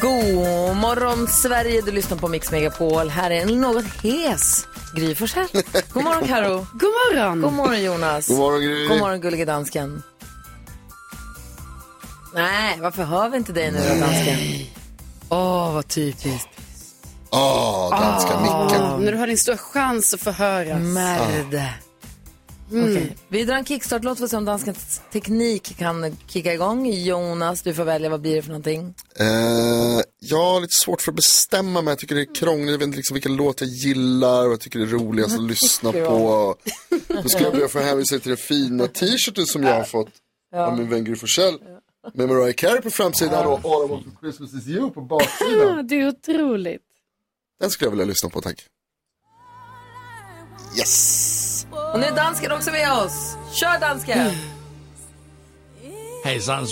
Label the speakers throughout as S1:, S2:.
S1: God morgon Sverige, du lyssnar på Mix Megapol. Här är en något hes Gry Forssell. God morgon Karo.
S2: God morgon.
S1: God morgon Jonas.
S3: God morgon, Gry.
S1: God morgon gullige dansken. Nej, varför hör vi inte dig nu då dansken? Åh, vad typiskt.
S3: Åh, danska
S1: Ah.
S3: micken.
S2: När du har din stora chans att få höras.
S1: Märde. Okej. Mm. Vi drar en kickstart-låt för att se om danskens teknik kan kicka igång. Jonas, du får välja. Vad blir det för någonting?
S3: Eh, jag har lite svårt för att bestämma mig. Jag tycker det är krångligt. Jag vet inte liksom vilken låt jag gillar och jag tycker det är roligast att lyssna på. Då skulle jag be att få hänvisa till den fina t-shirten som jag har fått av min vän Gry Forssell. Med Mariah Carey på framsidan och All I Want For Christmas Is You på baksidan.
S2: Ah, Det är otroligt.
S3: Den skulle jag vilja lyssna på, tack. Yes!
S1: Och nu är dansken också med oss. Kör
S2: Mm.
S1: dansken!
S4: Hejsan,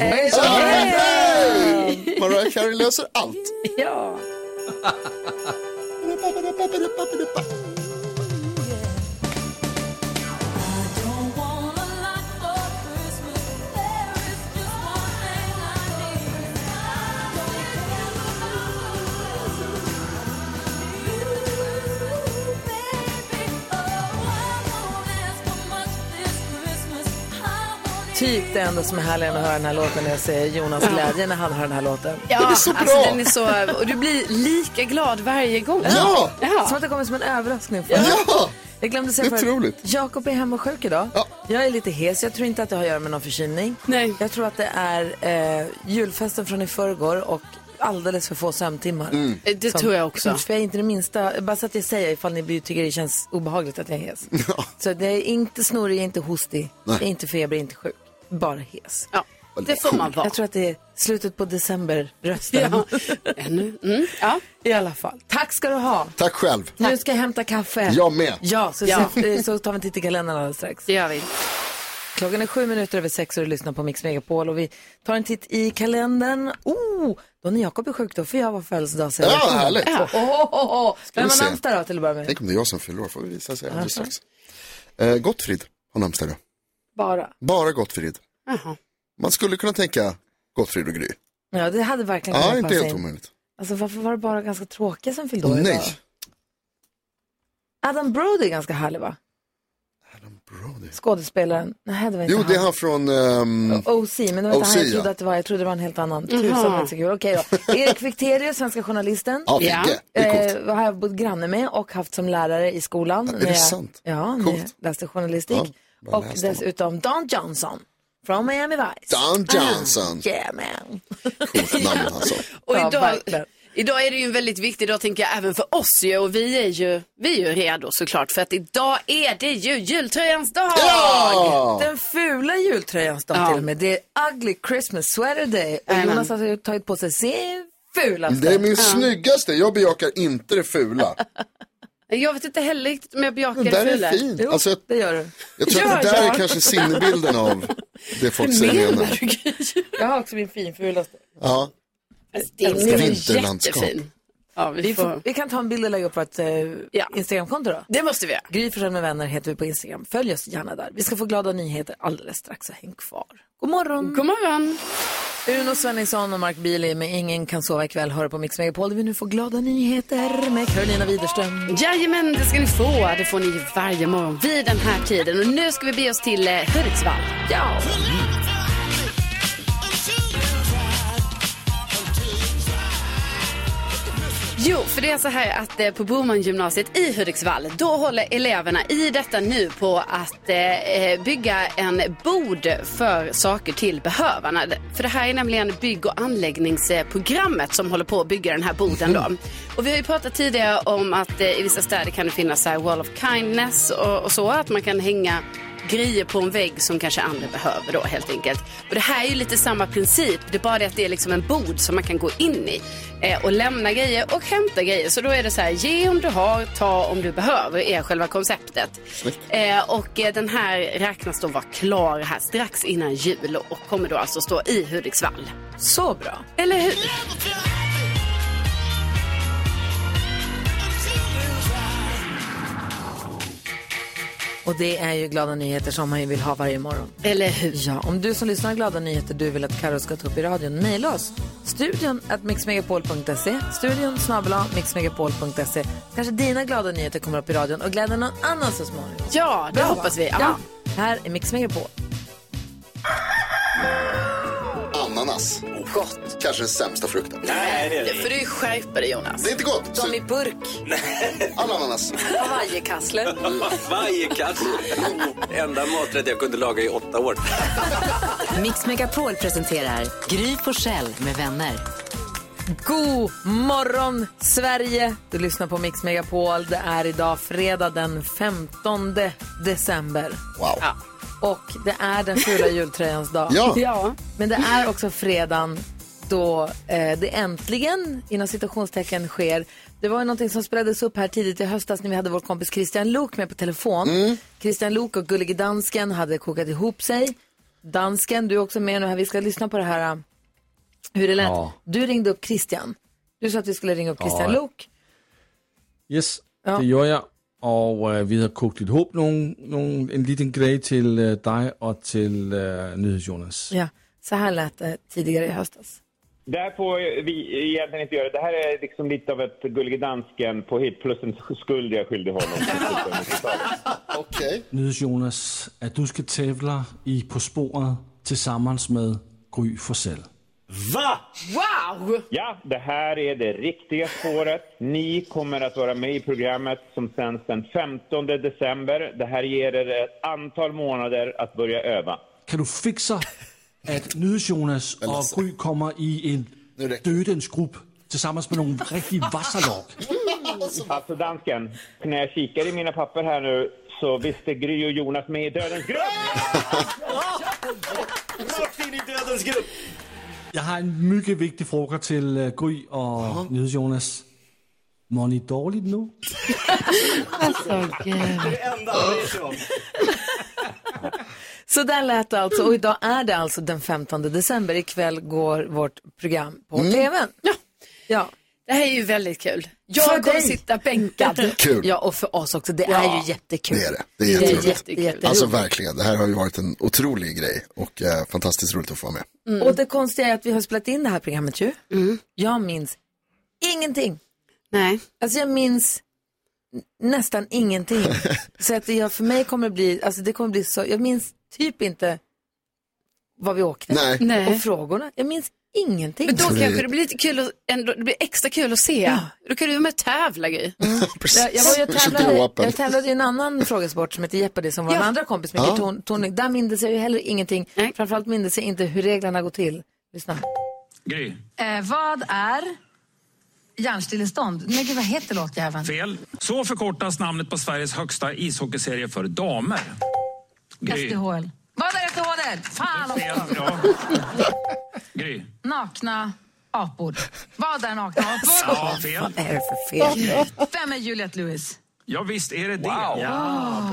S3: Mariah Carey löser allt.
S1: Ja. Typ det enda som är härligare än att höra den här låten när jag ser Jonas glädje när han hör den här låten.
S2: Ja,
S3: Den är så bra.
S2: Alltså, den är så, och du blir lika glad varje gång.
S3: Ja!
S2: Ja.
S1: Som att det kommer som en överraskning för mig.
S3: Ja!
S1: Jag glömde säga
S3: Det är
S1: förut,
S3: otroligt.
S1: Jakob är hemma sjuk idag.
S3: Ja.
S1: Jag är lite hes. Jag tror inte att det har att göra med någon förkylning.
S2: Nej.
S1: Jag tror att det är eh, julfesten från i förrgår och alldeles för få sömntimmar.
S3: Mm.
S2: Eh, Det
S1: Som-
S2: tror jag också.
S1: För jag är inte det minsta, bara så att jag säger ifall ni tycker det känns obehagligt att jag är hes. Så det är inte snorig, jag är inte hostig, jag är inte feber, jag är inte sjuk. Bara hes.
S2: Ja. Det får man vara.
S1: Jag tror att det är slutet på december-rösten.
S2: Ännu. Mm. Ja.
S1: I alla fall. Tack ska du ha.
S3: Tack själv.
S1: Nu ska jag hämta kaffe.
S3: Jag med.
S1: Ja, så,
S2: Ja.
S1: Så, så tar vi en titt i kalendern alldeles strax.
S2: Det gör vi.
S1: Klockan är sju minuter över sex och du lyssnar på Mix Megapol och vi tar en titt i kalendern. Oh, då när Jakob är sjuk då får jag vara födelsedag sen.
S3: Ja, härligt.
S1: Åh, åh, åh, åh. Vem
S3: vi
S1: har
S3: se.
S1: namnsdag då till att börja med?
S3: Tänk om det är jag som fyller år, får vi visa sig alldeles strax. Eh, Gottfrid har namnsdag idag.
S2: Bara.
S3: Bara Gottfrid.
S2: Jaha.
S3: Man skulle kunna tänka Gottfrid och Gry.
S1: Ja, det hade verkligen
S3: Ja,
S1: kunnat
S3: inte
S1: passa
S3: helt
S1: in.
S3: omöjligt.
S1: Alltså varför var det bara ganska tråkiga som fyllde
S3: Åh
S1: år
S3: nej.
S1: idag? Adam Brody är ganska härlig va?
S3: Adam Brody.
S1: Skådespelaren. Nej, det var inte
S3: Jo,
S1: han.
S3: det är han från... ehm,
S1: OC, men det var inte
S3: OC,
S1: han jag trodde
S3: ja.
S1: att det var. Jag trodde det var en helt annan. Tusan var inte så kul. Okej då. Erik Fichtelius, svenska journalisten.
S3: Ja, Figge.
S2: Ja.
S3: Det är coolt.
S1: Eh, har jag bott granne med och haft som lärare i skolan.
S3: är det
S1: när jag-
S3: sant?
S1: Ja, när
S3: Coolt.
S1: jag läste journalistik.
S3: Ja, bara
S1: och
S3: läst om honom.
S1: dessutom Don Johnson, från Miami Vice. Ah,
S3: Dan Johnson.
S1: Yeah man.
S3: Coolt namn alltså.
S2: Och
S1: Ja,
S2: idag,
S1: verkligen.
S2: idag är det ju en väldigt viktig dag tänker jag även för oss ju. Och vi är ju, vi är ju redo såklart för att idag är det ju jultröjans dag.
S3: Ja!
S1: Den fula jultröjan står
S2: Ja.
S1: till och med. Det är ugly Christmas sweater day. Och
S2: Amen.
S1: Jonas har alltså tagit på sig sin fulaste.
S3: Det är min snyggaste, jag bejakar inte det fula.
S2: Jag vet inte heller riktigt om jag bejakar
S3: Den där
S2: det
S3: är
S2: fula.
S3: fin.
S1: Jo,
S3: Alltså, jag,
S1: det gör du.
S3: jag tror att det
S2: Ja,
S3: där
S2: ja.
S3: är kanske sinnebilden av det folk säger. menar.
S1: Jag har också min finfulaste.
S3: Ja.
S2: Alltså, Det
S3: Älskar
S2: är
S3: vinterlandskap.
S2: jättefin. Ja, vi
S1: Vi,
S2: får...
S1: får, vi kan ta en bild och lägga upp vårt eh,
S2: Ja.
S1: Instagramkonto då.
S2: Det måste vi göra.
S1: Gry Forssell med vänner heter vi på Instagram. Följ oss gärna där. Vi ska få glada nyheter alldeles strax, så häng kvar. God morgon!
S2: God morgon.
S1: Uno Svenningsson och Mark Bili med Ingen kan sova ikväll hör på Mix Megapol där vi nu får glada nyheter med Carolina Widerström.
S2: Jajamän, det ska ni få. Det får ni ju varje morgon vid den här tiden. Och nu ska vi bege oss till eh, Hudiksvall.
S1: Ja!
S2: Jo, för det är så här att eh, på Bromangymnasiet i Hudiksvall, då håller eleverna i detta nu på att eh, bygga en bod för saker till behövarna. För det här är nämligen bygg och anläggningsprogrammet som håller på att bygga den här boden då. Och vi har ju pratat tidigare om att eh, i vissa städer kan det finnas så här wall of kindness och, och så, att man kan hänga grejer på en vägg som kanske andra behöver då helt enkelt. Och det här är ju lite samma princip, det är bara det att det är liksom en bod som man kan gå in i eh, och lämna grejer och hämta grejer. Så då är det så här, ge om du har, ta om du behöver, är själva konceptet. Eh, och eh, den här räknas då vara klar här strax innan jul och kommer då alltså stå i Hudiksvall.
S1: Så bra.
S2: Eller hur?
S1: Och det är ju glada nyheter som man ju vill ha varje morgon.
S2: Eller hur?
S1: Ja, om du som lyssnar har glada nyheter du vill att Karo ska ta upp i radion, mejla oss. Studion at mixmegapol.se, studion snabbla mixmegapol.se. Kanske dina glada nyheter kommer upp i radion och glädjer någon annan så småningom.
S2: Ja, det
S1: Bra,
S2: hoppas
S1: va?
S2: vi. Ja.
S1: Ja. Här är Mix Megapol.
S3: Ananas. Gott. Kanske den sämsta frukten.
S2: För du skärper dig Jonas.
S3: Det är inte gott. Så,
S1: i burk,
S3: all ananas.
S1: hawaiikassler.
S5: Varje katt. Enda maträtt jag kunde laga i åtta år.
S6: Mix Megapol presenterar Gry på Själ med vänner.
S1: God morgon, Sverige! Du lyssnar på Mix Megapol. Det är idag fredag den 15 december.
S3: Wow.
S2: Ja.
S1: Och det är den fula jultröjans dag.
S3: Ja.
S2: Ja.
S1: Men det är också fredagen då eh, det äntligen, inom citationstecken, sker. Det var ju någonting som spelades upp här tidigt i höstas när vi hade vår kompis Christian Lok med på telefon.
S3: Mm.
S1: Christian Lok och Gullige Dansken hade kokat ihop sig. Dansken, du är också med nu här. Vi ska lyssna på det här, eh, hur det lät.
S7: Ja.
S1: Du ringde upp Christian. Du sa att vi skulle ringa upp Christian
S7: Ja.
S1: Lok.
S7: Yes,
S1: Ja.
S7: det gjorde jag. Och eh, vi har kokt ihop någon, någon, en liten grej till eh, dig och till uh, NyhetsJonas.
S1: Ja. Så här lät det tidigare i höstas.
S4: Det här får vi egentligen inte göra. Det här är liksom lite av ett Gullige Dansken på hit plus en skuld jag skyllde honom.
S3: Okej.
S7: NyhetsJonas, att du ska tävla i På spåret tillsammans med Gry Forssell.
S5: Va?
S2: Wow!
S4: Ja, det här är det riktiga spåret. Ni kommer att vara med i programmet som sänds den 15 december. Det här ger er ett antal månader att börja öva.
S7: Kan du fixa att NyhetsJonas och Gry kommer i en
S3: Nu räcker
S7: dödens grupp tillsammans med någon riktigt vassa lag?
S4: Alltså dansken, när jag kikar i mina papper här nu så visste Gry och Jonas med i Dödens grupp!
S5: Rakt in i dödens grupp.
S7: Jag har en mycket viktig fråga till eh, Gry och NyhetsJonas. Mår ni dåligt nu?
S2: Alltså,
S5: Det enda han bryr sig om.
S1: Så där lät det alltså. Och idag är det alltså den 15 december. Ikväll går vårt program på
S3: Mm.
S1: tvn.
S2: Ja.
S1: Ja.
S2: Det här är ju väldigt kul.
S1: För
S2: Jag kommer
S1: dig.
S2: sitta bänkad.
S3: Kul.
S1: Ja, och för oss också. Det är ju jättekul.
S3: Det är det. Det är
S1: det är
S3: jätteroligt.
S1: jätte,
S2: Jättekul.
S1: jätteroligt.
S3: Alltså verkligen, det här har ju varit en otrolig grej och eh, fantastiskt roligt att få vara med.
S1: Och det konstiga är att vi har spelat in det här programmet ju.
S3: Mm.
S1: Jag minns ingenting.
S2: Nej.
S1: Alltså jag minns n- nästan ingenting. så att jag, för mig kommer det bli, alltså det kommer bli så, jag minns typ inte vad vi åkte.
S3: Nej.
S2: Nej.
S1: Och frågorna. Jag minns ingenting.
S2: Men då kanske det blir lite kul att, ändå, det blir extra kul att se. Då kan du vara med och tävla Gry.
S3: Precis.
S1: Jag, jag, var, Mm. jag,
S3: Ursäkta
S1: tävlade,
S3: gråpen.
S1: jag tävlade i en annan frågesport som heter Jeopardy som var en andra kompis med
S3: Ja.
S1: Torn- Tornving. Där mindes jag ju heller ingenting.
S2: Nej.
S1: Framförallt mindes jag inte hur reglerna går till. Lyssna.
S5: Gry.
S8: Eh, vad är hjärnstillestånd? Men gud, vad heter låtjäveln?
S5: Fel. Så förkortas namnet på Sveriges högsta ishockeyserie för damer. Gry.
S8: SDHL. Vad är SDHL? Fan också!
S5: Fel. Ja. Gry.
S8: Nakna apor. Vad är nakna apor?
S5: Ja, fel.
S1: Vad är det för fel?
S8: Vem är Juliette Lewis?
S5: Ja, visst är det det. Ja.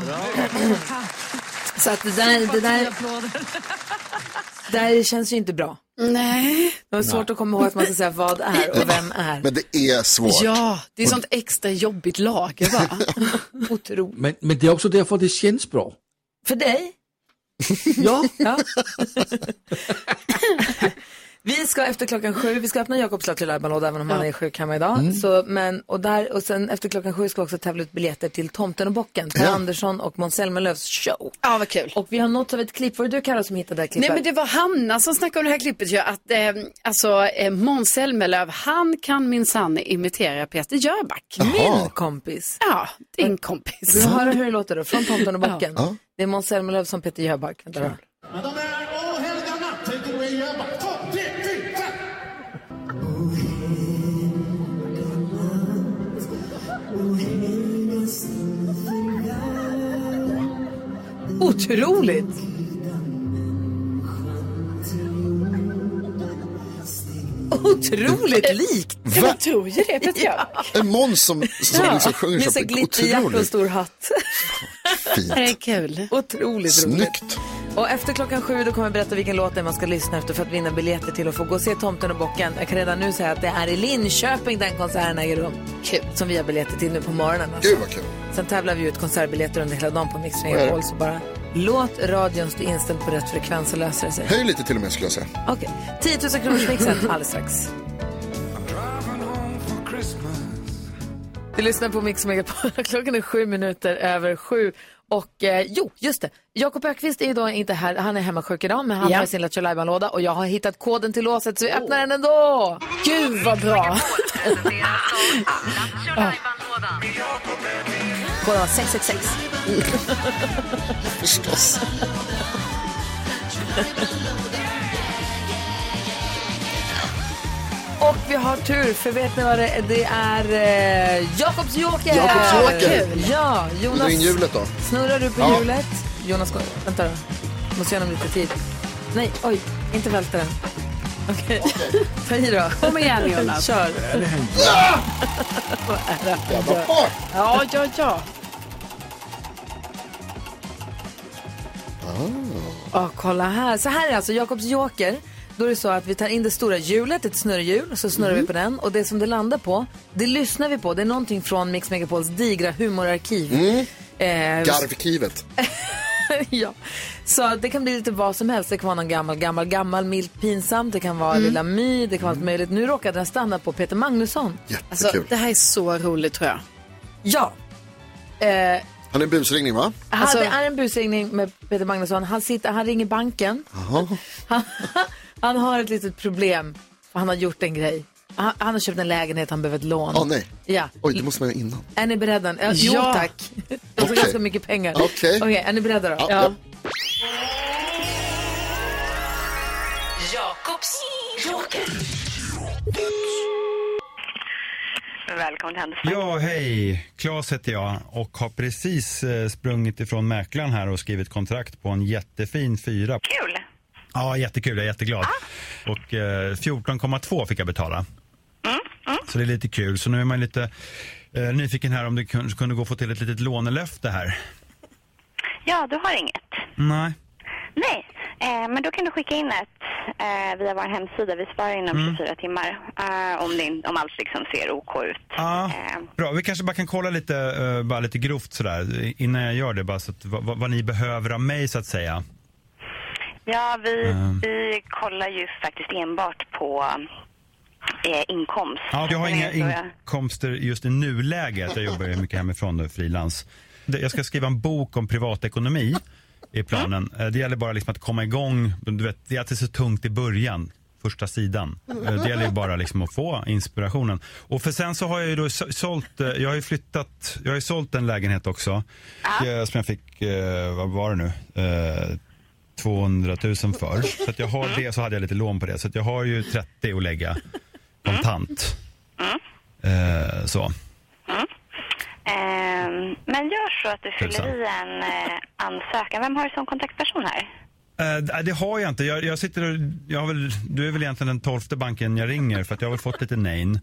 S1: Så att det där, det
S8: Tio
S1: där,
S8: applåder.
S1: det där känns ju inte bra.
S2: Nej.
S1: Det var svårt att komma ihåg att man ska säga vad är och vem är.
S3: Men det är svårt.
S2: Ja, det är sånt extra jobbigt lager va?
S1: Otroligt.
S7: Men, men det är också därför det känns bra.
S1: För dig? ja. vi ska efter klockan sju, vi ska öppna Jakobs lotterilajban även om han är sjuk hemma idag.
S2: Mm.
S1: Så, men, och, där, och sen efter klockan sju ska vi också tävla ut biljetter till Tomten och Bocken, Per
S3: Ja.
S1: Andersson och Måns Zelmerlöws show.
S2: Ja, vad kul.
S1: Och vi har nåtts av ett klipp, var det du Carro som hittade det här klippet?
S2: Nej men det var Hanna som snackade om det här klippet ju, att eh, alltså eh, Måns Zelmerlöw, han kan minsann imitera Peter Jöback.
S1: Min kompis.
S2: Ja, din kompis.
S1: Vill du höra hur det låter då? Från Tomten och Bocken.
S3: Ja.
S1: Det är Måns Zelmerlöw som Peter Jöback. Vänta då.
S4: Men de är ohelga natten, Gry och Jöback. Topp, det är fint!
S1: otroligt. Otroligt likt.
S3: Ja, man
S2: tror ju det, Petra.
S3: En Måns som, som liksom sjunger
S1: med så
S3: så
S1: glitterjacka och
S3: otroligt
S1: stor hatt.
S3: fint.
S2: Det är kul.
S1: Otroligt
S3: Snyggt.
S1: Och efter klockan sju då kommer jag berätta vilken låt det är man ska lyssna efter för att vinna biljetter till att få gå och se Tomten och bocken. Jag kan redan nu säga att det är i Linköping den konserten äger rum.
S2: Kul.
S1: Som vi har biljetter till nu på morgonen. alltså.
S3: Gud vad kul.
S1: Sen tävlar vi ut konsertbiljetter under hela dagen på Mix
S3: är det?
S1: Megapol. Så bara låt radion stå inställd på rätt frekvens så löser det sig.
S3: Höj lite till och med skulle jag säga.
S1: Okej, 10 000 kronors mixen alldeles strax. Du lyssnar på Mix Megapol. Klockan är sju minuter över sju. Och eh, jo, just det. Jakob Ökvist är ju då inte här. Han är hemmasjuk idag, men han
S2: Ja.
S1: har sin Lattjo Lajban-låda och jag har hittat koden till låset så vi öppnar den ändå.
S2: Gud vad bra.
S1: Koden var 666.
S3: Förstås.
S1: Och vi har tur, för vet ni vad det är? Det är eh, Jakobs joker!
S3: Jakobs joker.
S1: Kul. Ja,
S3: Dra in
S1: Jonas.
S3: hjulet då.
S1: Snurrar du på
S3: Ja.
S1: hjulet? Jonas, går. vänta då. Måste göra honom lite tid. Nej, oj, inte välta den. Okej, ta i då.
S2: Kom igen Jonas.
S1: Kör.
S3: Jävla fart.
S2: Ja, ja, ja.
S1: Ja, kolla här. Så här är alltså Jakobs joker. Då är det så att vi tar in det stora hjulet, ett snurrhjul, så snurrar vi på den. Och det som det landar på, det lyssnar vi på. Det är någonting från Mix Megapols digra humorarkiv. Eh,
S3: Garvkivet.
S1: ja. Så det kan bli lite vad som helst. Det kan vara någon gammal, gammal, gammal, milt pinsamt. Det kan vara Lilla My, det kan vara allt möjligt. Nu råkade den stanna på Peter Magnusson.
S2: Alltså,
S3: Jättekul.
S2: det här är så roligt tror jag.
S1: Ja. Eh,
S3: Han är en busringning va?
S2: Alltså-
S1: Det är en busringning med Peter Magnusson. Han, sitter, han ringer banken.
S3: Jaha.
S1: Han, han har ett litet problem. för Han har gjort en grej. Han, han har köpt en lägenhet, han behöver ett lån.
S3: Åh nej.
S1: Ja.
S3: Oj, det måste man göra innan.
S1: Är ni beredda? Ja, jo,
S2: Ja.
S1: tack. Det är
S3: Okej.
S1: ganska mycket pengar.
S3: Okej.
S1: är ni beredda då?
S3: Ja, ja.
S8: Ja, hej. Claes heter jag och har precis eh, sprungit ifrån mäklaren här och skrivit kontrakt på en jättefin fyra.
S9: Kul!
S8: Ja, jättekul. Jag är jätteglad. Och eh, 14,2 fick jag betala. Så det är lite kul. Så nu är man lite eh, nyfiken här om det kun- kunde gå att få till ett litet lånelöfte här.
S9: Ja, du har inget.
S8: Nej.
S9: Nej, eh, men då kan du skicka in ett eh, via vår hemsida. Vi svarar inom
S8: Mm.
S9: 24 timmar eh, om, det, in- om allt liksom ser OK ut.
S8: Ja,
S9: Eh,
S8: bra. Vi kanske bara kan kolla lite, eh, bara lite grovt sådär innan jag gör det. Bara så att, vad, vad- vad ni behöver av mig så att säga.
S9: ja, vi,
S8: Mm.
S9: vi kollar ju faktiskt enbart på eh, inkomst.
S8: Ja, jag har
S9: Men
S8: inga
S9: tror jag-
S8: inkomster just i nuläget. Jag jobbar ju mycket hemifrån nu, frilans. Det- Jag ska skriva en bok om privatekonomi i planen. Eh, Det gäller bara liksom att komma igång. Du vet, det är alltid så tungt i början, första sidan. Eh, Det gäller ju bara liksom att få inspirationen. Och för sen så har jag ju då så- sålt, eh, jag har ju flyttat, jag har ju sålt en lägenhet också. eh, Som jag fick, eh, vad var det nu? Eh, 200 000 för. Så att jag har det så hade jag lite lån på det. Så att jag har ju 30 att lägga kontant. Eh, så.
S9: Ehm, men gör så att du
S8: Tusan.
S9: fyller i en eh, ansökan. Vem har du som kontaktperson här?
S8: Eh, d- det har jag inte. Jag, jag sitter och, jag har väl, du är väl egentligen den tolfte banken jag ringer för att jag har väl fått lite nein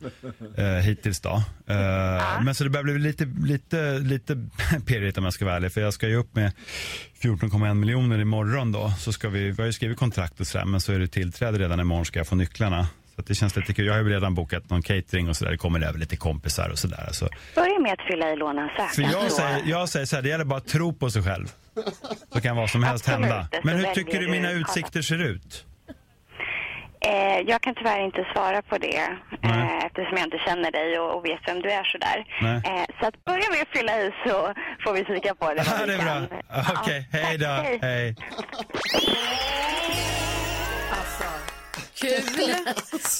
S8: eh, hittills då. Eh, Men så det börjar bli lite, lite, lite pirrigt om jag ska vara ärlig för jag ska ju upp med 14,1 miljoner imorgon då. Så ska vi, vi har ju skrivit kontrakt och sådär men så är det tillträde redan imorgon ska jag få nycklarna. Så att det känns lite kul. Jag har ju redan bokat någon catering och sådär. Det kommer över lite kompisar och sådär. Så.
S9: Börja med att fylla i
S8: För
S9: låneansökan.
S8: jag
S9: så-
S8: säger, jag säger så här, det gäller bara att tro på sig själv. Så kan vad som helst
S9: Absolut,
S8: hända.
S9: det
S8: Men hur
S9: väljer
S8: tycker du
S9: du
S8: mina
S9: själv.
S8: utsikter ser ut?
S9: Eh, jag kan tyvärr inte svara på det
S8: Nej.
S9: eh, eftersom jag inte känner dig och, och vet vem du är sådär.
S8: Nej.
S9: Eh, så att börja med att fylla i så får vi kika på det.
S8: Ja,
S9: vad vi
S8: det är
S9: kan.
S8: bra. Okej,
S9: Ja,
S8: hej
S9: tack,
S8: då. Hej.
S1: Kul!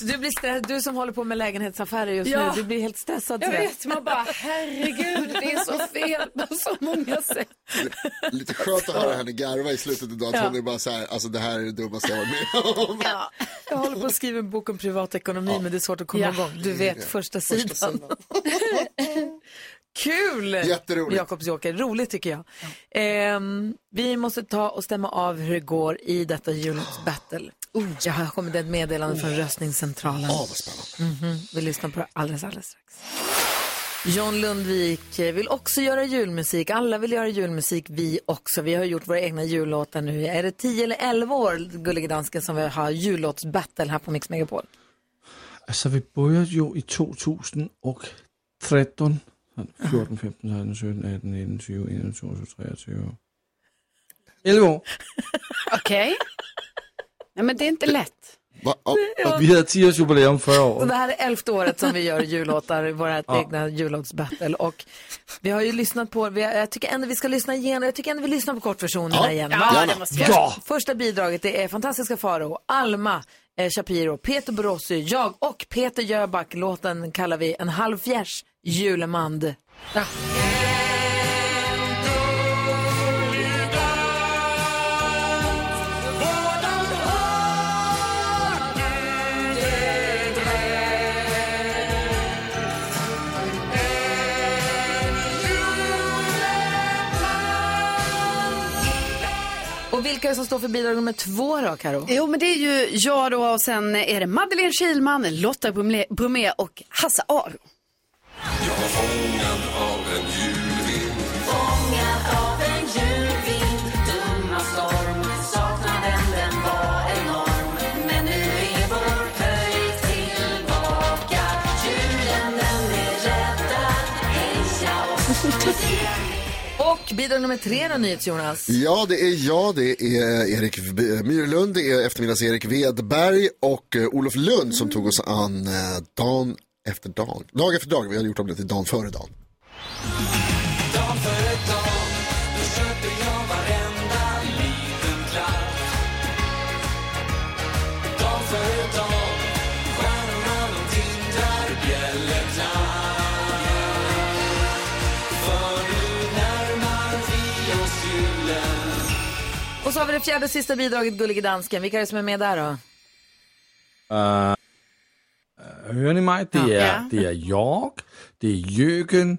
S1: Du, blir stress, du som håller på med lägenhetsaffärer just
S2: Ja.
S1: nu, du blir helt stressad.
S2: Jag
S1: tror
S2: vet, man bara herregud, det är så fel på så många sätt.
S3: Lite skönt att höra henne garva i slutet idag. Att Hon är bara så här, alltså det här är det dummaste jag har varit med om.
S1: Jag håller på att skriva en bok om privatekonomi men det är svårt att komma
S2: Ja.
S1: igång. Du vet, första sidan. Kul!
S3: Jätteroligt.
S1: Jakobsjoker, roligt tycker jag. Ehm, vi måste ta och stämma av hur det går i detta jullåtsbattle. Jag har kommit ett meddelande från röstningscentralen.
S3: Oh. Åh, vad spännande.
S1: Vi lyssnar på det alldeles, alldeles strax. John Lundvik eh, vill också göra julmusik. Alla vill göra julmusik, vi också. Vi har gjort våra egna jullåtar nu. Är det 10 eller 11 år, gullige dansken, som vi har jullåtsbattle här på Mix Megapol?
S10: Altså, vi började ju i 2013. Sådan 14, 15, 16, 17, 18, 19, 20, 21, 22, 23. 11 år.
S2: Okej. Nej men det är inte lätt.
S10: Och vi hade 10 års jubileum förra
S1: Så
S10: året.
S1: det här är elfte året som vi gör jullåtar, vårt
S10: Ja.
S1: egna jullåtsbattle. Och vi har ju lyssnat på, vi har, jag tycker ändå vi ska lyssna igen, jag tycker ändå vi lyssnar på kortversionerna
S2: Ja.
S1: igen.
S2: Ja,
S1: va?
S2: det måste vi
S1: Först-
S2: göra.
S1: Första bidraget det är Fantastiska Faro, Alma eh, Shapiro, Peter Borossi, jag och Peter Jöback. Låten kallar vi En halv fjärs julemand. Ja. Och vilka är det som står för bidrag nummer två då, Karo?
S2: Jo, men det är ju jag då och sen är det Madeleine Kilman, Lotta Bromlé- Bromé och Hasse Aro.
S5: Jag var fångad av en julvind
S11: Fångad av en julvind, dumma storm Saknaden den var enorm Men nu är vår höjd tillbaka Julen den är räddad, heja oss nu ser
S1: Och bidrag nummer tre då, NyhetsJonas.
S3: Ja, det är jag, det är Erik V- Myrlund, det är eftermiddags-Erik Wedberg och eh, Olof Lund som tog oss an eh, dan efter dag. Dag efter dag, vi hade gjort om det till dan före dan.
S5: Dag före dag Då skötte jag varenda liten klack Dag före dag Stjärnorna de tindrar bjällerklang För nu närmar vi oss julen
S1: Och så har vi det fjärde och sista bidraget, Gullige Dansken. Vilka är det som är med där då?
S10: Uh, øh, hører ni mig? Det er,
S1: Ja.
S10: det er York, det er Jørgen,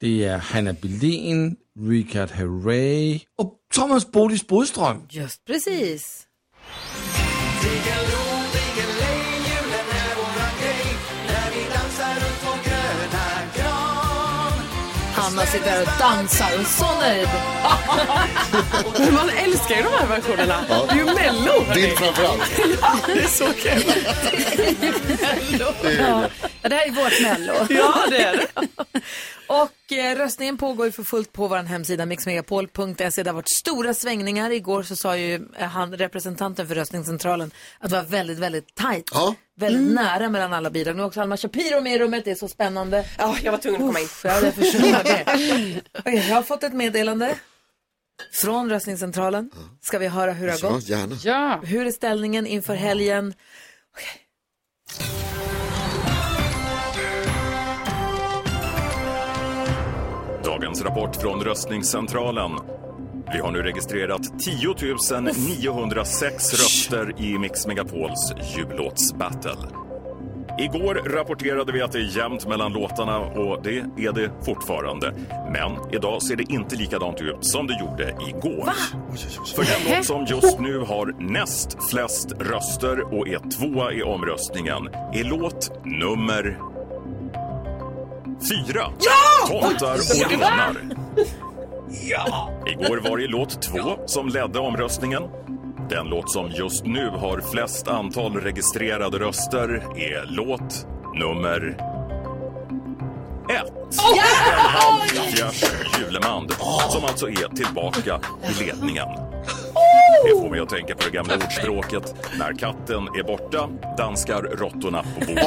S10: det er Hanna Belén, Richard Herrey og Thomas Bodis Bodstrøm.
S1: Just precis.
S5: Diggiloo, diggiley, julen är våran grej När vi dansar runt vår gröna gran
S1: Hanna sitter här och dansar och är så nöjd.
S12: Man älskar ju de här versionerna.
S3: Ja.
S12: Det är ju mello.
S3: Din framförallt.
S12: Ja, det är så kul.
S2: Ja, det här är vårt Mello.
S1: Ja, det är det. Och eh, röstningen pågår ju för fullt på vår hemsida mixmegapol.se. Det har varit stora svängningar. Igår så sa ju eh, han, representanten för röstningscentralen att det var väldigt, väldigt tajt. Väldigt nära mellan alla bidrag. Nu är också Alma Shapiro med i rummet. Det är så spännande.
S12: Ja, jag var tvungen att komma in.
S1: Ja, jag förstår det. Okej, jag har fått ett meddelande från röstningscentralen. Ska vi höra hur det har
S3: Ja,
S1: gått?
S3: gärna.
S1: Ja. Hur är ställningen inför helgen?
S13: Dagens rapport från röstningscentralen. Vi har nu registrerat 10 906 röster i Mix Megapols jullåtsbattle. Igår rapporterade vi att det är jämnt mellan låtarna och det är det fortfarande. Men idag ser det inte likadant ut som det gjorde igår. För den låt som just nu har näst flest röster och är tvåa i omröstningen är låt nummer fyra.
S5: Ja!
S13: Tomtar
S5: Ja!
S13: och renar.
S5: Ja!
S13: Igår var det låt två som ledde omröstningen. Den låt som just nu har flest antal registrerade röster är låt nummer ett. Fjärs Julemand, som alltså är tillbaka i ledningen. Det får mig att tänka på det gamla ordspråket. När katten är borta danskar råttorna på bordet.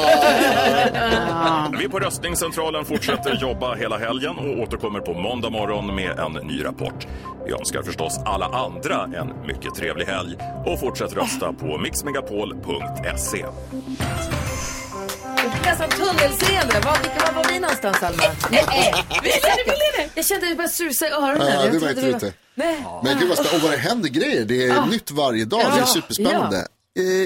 S13: Vi på röstningscentralen fortsätter jobba hela helgen och återkommer på måndag morgon med en ny rapport. Vi önskar förstås alla andra en mycket trevlig helg och fortsätt rösta på mixmegapol.se.
S1: Nästan tunnelseende. Var, vilka var, var vi någonstans, Alma? Nej, Jag kände att det började susa i öronen.
S3: Ja,
S1: Jag
S3: det
S1: trodde
S3: märkte
S1: vi
S3: vi
S1: var-
S3: inte.
S1: Nej.
S3: Men gud vad spännande, och vad det händer grejer. Det är
S1: Ja.
S3: nytt varje dag, det
S1: Ja.
S3: är superspännande. Eh,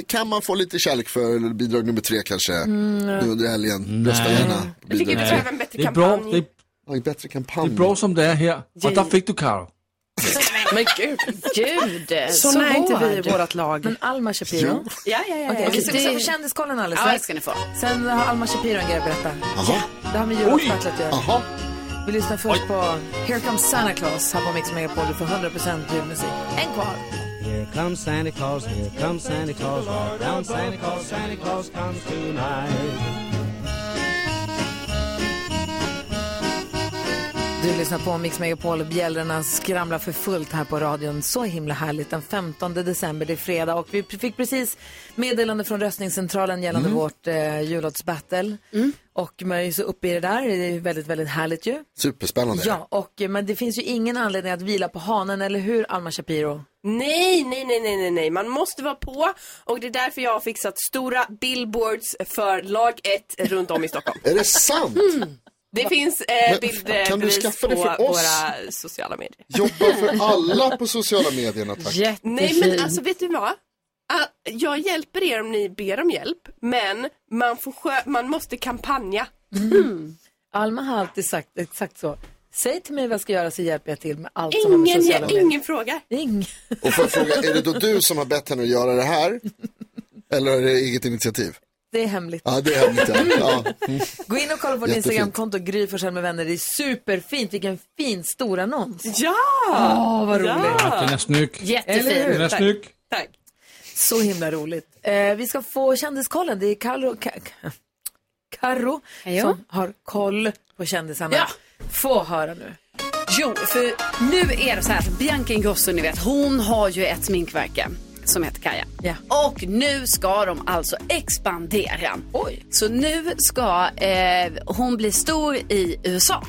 S3: kan man få lite kärlek för bidrag nummer tre kanske?
S1: Mm.
S3: Nu under helgen. Rösta gärna. på
S12: Vi fick ju
S3: bidrag
S12: behöva
S3: tre.
S12: en bättre Det är bra, kampanj. det är-
S3: har ju bättre kampanj.
S10: Det är bra som det är här. Och där fick du Karo.
S2: Men gud.
S1: Gud,
S12: Så när är inte vi i
S1: hård.
S12: vårat lag.
S1: Men Alma Shapiro.
S12: Jo. Ja, ja, ja,
S1: Okej,
S12: ja.
S1: vi ska
S12: Det-
S1: få kändiskollen alldeles
S2: Ja,
S1: strax.
S2: det ska ni få.
S1: Sen har Alma Shapiro en grej att berätta.
S3: Jaha.
S1: Det har med Europattlet att göra. Vi lyssnar först på Here Comes Santa Claus här på Mix Megapol. Du får 100% julmusik. En kvar.
S14: Here comes Santa Claus, here comes Santa Claus, right down Santa Claus, Santa Claus comes tonight.
S1: Du lyssnar på Mix Megapol och bjällrorna skramlar för fullt här på radion. Så himla härligt. Den 15 december, det är fredag och vi fick precis meddelande från röstningscentralen gällande
S3: Mm.
S1: vårt eh, jullåtsbattle. Och man är ju så uppe i det där. Det är ju väldigt, väldigt härligt ju.
S3: Superspännande.
S1: Ja, och, eh, men det finns ju ingen anledning att vila på hanen, eller hur Alma Shapiro?
S12: Nej, nej, nej, nej, nej, nej. Man måste vara på och det är därför jag har fixat stora billboards för lag 1 runt om i Stockholm.
S3: Är det sant?
S12: Det finns
S3: Men,
S12: eh,
S3: kan du
S12: bildbevis på
S3: skaffa det för oss?
S12: våra sociala medier.
S3: Jobba för alla på sociala medierna tack.
S12: Nej, men alltså vet du vad? Ah, Jag hjälper er om ni ber om hjälp, men man, får skö- man måste kampanja.
S3: Mm.
S1: Mm. Alma har alltid sagt exakt så. Säg till mig vad jag ska göra så hjälper jag till med allt som har med
S12: Ingen,
S1: sociala medier.
S12: ingen fråga.
S1: Ingen.
S3: Och får jag fråga, är det då du som har bett henne att göra det här? Eller är det eget initiativ?
S1: Det är hemligt.
S3: Ja, det är hemligt. Ja. Ja.
S1: Gå in och kolla på vårt
S3: Jättefint.
S1: Instagramkonto, Gry Forssell med vänner. Det är superfint. Vilken fin stor annons.
S12: Ja!
S1: Åh, vad roligt.
S10: Ja, den är snygg.
S1: Jättefin.
S10: Eller hur? Den är
S1: Tack.
S10: snygg.
S12: Tack.
S1: Så himla roligt. Eh, vi ska få kändiskollen. Det är Karo, Ka- Ka- Karo som har koll på kändisarna.
S2: Ja.
S1: Få höra nu.
S2: Jo, för nu är det så här att Bianca Ingrosso, ni vet, hon har ju ett sminkverke som heter Kaja. Och nu ska de alltså expandera.
S1: Oj.
S2: Så nu ska eh, hon bli stor i USA.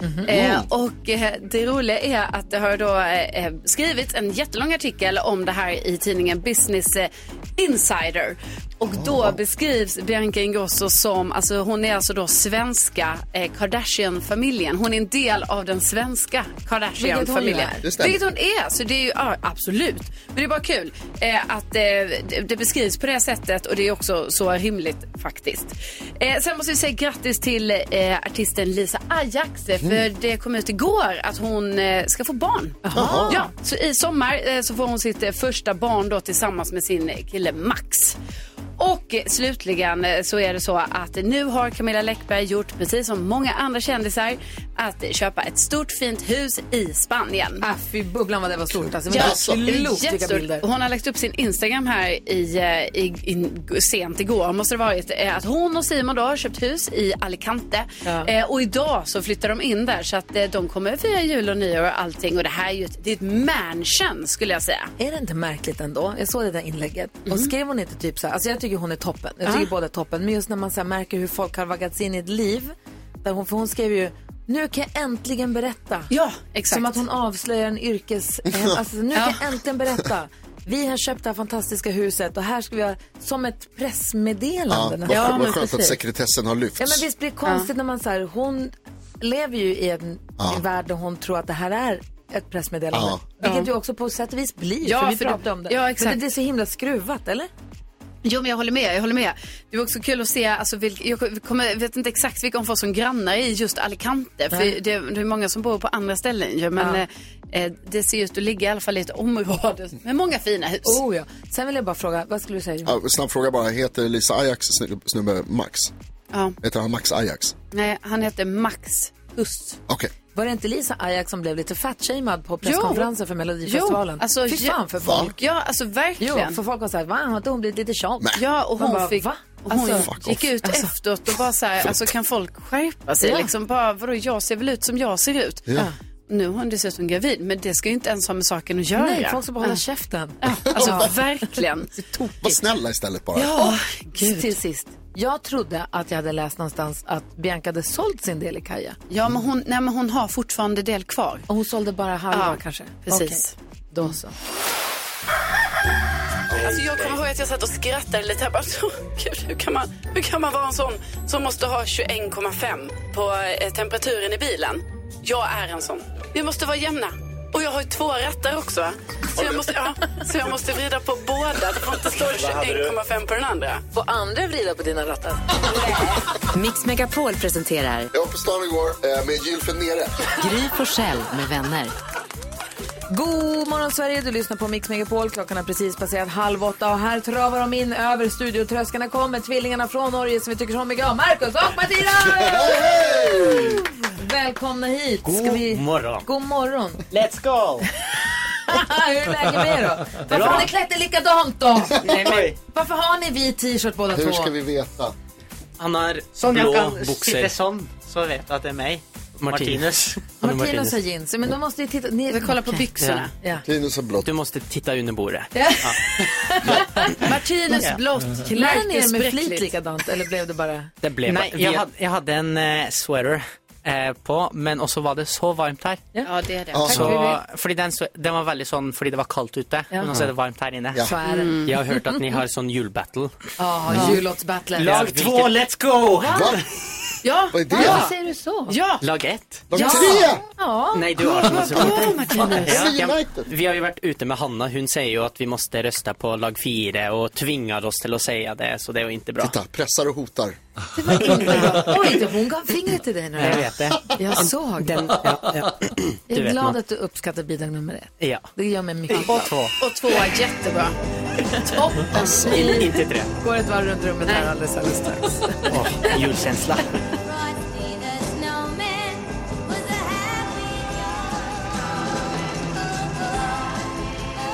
S3: Mm.
S1: Mm-hmm.
S2: Eh, och eh, det roliga är att det har då eh, eh, skrivits en jättelång artikel om det här i tidningen Business eh, Insider. Och då
S1: Oh.
S2: beskrivs Bianca Ingrosso som, alltså hon är alltså då svenska eh, Kardashian-familjen. Hon är en del av den svenska Kardashian-familjen.
S1: Vilket hon ju är. Det stämmer.
S2: Vilket hon är, så det är ju ja, absolut. Men det är bara kul eh, att eh, det, det beskrivs på det sättet och det är också så rimligt faktiskt. Eh, sen måste vi säga grattis till eh, artisten Lisa Ajax eh, för
S11: Mm.
S2: det kom ut igår att hon eh, ska få barn.
S11: Jaha.
S2: Ja, så i sommar eh, så får hon sitt eh, första barn då tillsammans med sin eh, kille Max. Och eh, slutligen eh, så är det så att nu har Camilla Läckberg gjort, precis som många andra kändisar, att eh, köpa ett stort fint hus i Spanien.
S1: Ah, fy bubblan vad det var stort. Alltså, men
S2: Ja,
S1: alltså,
S2: det är
S1: klokt vilka
S2: jättestort.
S1: bilder.
S2: Hon har lagt upp sin Instagram här i, eh, i, i, sent igår, måste det varit, eh, att hon och Simon då har köpt hus i Alicante. Eh, och idag så flyttar de in där så att eh, de kommer fira jul och nyår och allting. Och det här är ju ett, det är ett mansion skulle jag säga.
S1: Är det inte märkligt ändå? Jag såg det där inlägget.
S3: Mm.
S1: Och skrev hon inte typ så här, alltså jag tycker hon är toppen. Jag
S3: Ah.
S1: tycker
S2: Ja.
S1: båda är toppen. Men just när man så här märker hur folk har vaggats in i ett liv. Där hon, för hon skrev ju, nu kan jag äntligen berätta.
S2: Ja, exakt.
S1: Som att hon avslöjar en yrkes... Alltså, nu kan jag äntligen berätta. Vi har köpt det här fantastiska huset och här ska vi ha som ett
S3: Ja,
S1: pressmeddelande.
S3: vad,
S1: nästan.
S3: vad
S1: men
S3: skönt att
S1: precis.
S3: sekretessen har lyfts.
S1: Ja, men visst blir det konstigt när man så här, hon lever ju i en
S3: Ja.
S1: en värld där hon tror att det här är ett pressmeddelande.
S3: Ja.
S1: Vilket ju också på sätt och vis blir,
S2: Ja,
S1: för vi
S2: för det-
S1: pratade om det.
S2: ja,
S1: Men
S2: exakt.
S1: det är så himla skruvat, eller?
S2: Jo, men jag håller med. Jag håller med. Det var också kul att se, alltså, vilk, jag kommer, vet inte exakt vilka hon får som grannar i just Alicante. För
S1: Nej.
S2: det, det är många som bor på andra ställen ju, men
S1: Ja.
S2: eh, eh, det ser ut att ligga i alla fall i ett område med många fina hus.
S1: Oh, ja. Sen vill jag bara fråga, vad skulle du säga? Jonas?
S3: Ja, snabb fråga bara, heter Lisa Ajax snu- snubbe Max?
S2: Ja.
S3: Heter han Max Ajax?
S2: Nej, han heter Max Hust.
S3: Okej.
S1: Var det inte Lisa Ajax som blev lite fatshamead på presskonferensen för Melodifestivalen?
S2: Jo, alltså,
S1: Fy fan för
S2: ja,
S1: folk.
S2: Ja, alltså verkligen.
S1: Jo, för folk var så här, va, har inte Ah, hon blivit lite tjat?
S2: Ja, och
S1: Man
S2: hon
S1: bara,
S2: fick...
S1: Va? Alltså,
S2: och Hon gick ut efteråt och bara så här, alltså kan folk skärpa sig?
S1: Ja.
S2: Liksom bara, vadå, jag ser väl ut som jag ser ut?
S1: Ja.
S2: Nu är hon dessutom gravid, men det ska ju inte ens ha med saken att göra.
S1: Nej, folk ska bara hålla
S2: Ja.
S1: käften.
S2: Ja, alltså verkligen.
S3: Var snälla istället bara.
S1: Typ. Ja, gud. Till sist. Jag trodde att jag hade läst någonstans att Bianca hade sålt sin del i Kaja.
S2: Ja, men hon, nej, men hon har fortfarande del kvar.
S1: Och hon sålde bara halva
S2: Ja,
S1: kanske?
S2: precis.
S1: Okej, Då så.
S12: Alltså jag kommer ihåg att jag satt och skrattade lite här. Bara, så, gud, hur, kan man, hur kan man vara en sån som måste ha 21,5 på eh, temperaturen i bilen? Jag är en sån. Vi måste vara jämna. Och jag har ju två rattar också. Så jag måste, ja, så jag måste vrida på båda. Det får inte stå
S1: Vad hade du?
S12: 21,5 på den andra.
S1: Får andra vrida på dina rattar?
S6: Mix Megapol presenterar
S3: Jag var på stan igår eh, med gylfen nere.
S6: Gry på Själ med vänner.
S1: God morgon Sverige, du lyssnar på Mix Megapol. Klockan har precis passerat halv åtta och här travar de in över studiotröskarna kommer tvillingarna från Norge som vi tycker så mycket om. Marcus och Martina! Välkomna hit. Ska
S15: God
S1: vi-
S15: morgon.
S1: God morgon.
S15: Let's go!
S1: Hur är läget med er då? Varför
S15: Bra.
S1: har ni klätt er likadant då?
S15: Nej, men-
S1: Varför har ni vit t-shirt båda två?
S3: veta?
S15: Han har
S1: Sånn jeg
S15: blå
S1: kan
S15: bukser.
S1: sitte
S15: sånn, så vet jag at det er meg.
S16: Martinez.
S1: Martinus har jeans, men de måste ju titta. Ni... Vi kollar på byxorna. Ja.
S3: Tinus har blått.
S16: Du måste titta under bordet.
S1: Martinus
S2: Ja. blått,
S1: Klär ni er med
S2: knarkespräckligt.
S1: flit likadant eller blev det bara?
S16: Mm. Det blev
S1: Nej,
S16: bare-
S1: jag
S16: vi,
S1: hade-
S16: jag hade en eh, sweater eh, på, men också var det så varmt här.
S2: Ja, det är det.
S1: Alltså-
S16: Så, fordi den, så- den var veldig sånn fordi det var kaldt ute,
S1: Ja.
S16: men også er det varmt her inne.
S1: Ja. Så er det. Mm.
S16: Jeg har hørt at ni har sånn julebattle.
S1: Ja,
S16: Ja.
S1: jullottsbattlet.
S16: Lag två, let's go!
S1: Ja,
S16: Vad är det?
S1: varför säger du så?
S16: Ja! Lag ett.
S1: Lag Ja. tre! Ja.
S16: Nej, du har
S1: Ja,
S16: så
S1: vad bra, Martinus.
S16: Ja,
S1: Det är
S16: ja, vi har ju varit ute med Hanna, hon säger ju att vi måste rösta på lag fyra och tvingar oss till att säga det, så det är ju inte bra. Titta,
S3: pressar och hotar.
S1: Oj, det- hon gav fingret till dig nu.
S16: Jag vet det.
S1: Jag såg
S16: Den-
S1: det. Jag
S16: Du
S1: är
S16: vet
S1: glad
S16: man.
S1: att du uppskattar bidrag nummer ett.
S16: Ja.
S1: Det gör mig mycket
S16: Och två.
S2: Och två är jättebra. Toppen.
S16: In, inte tre.
S1: Går ett varv runt rummet här alldeles, alldeles strax.
S16: Åh, julkänsla.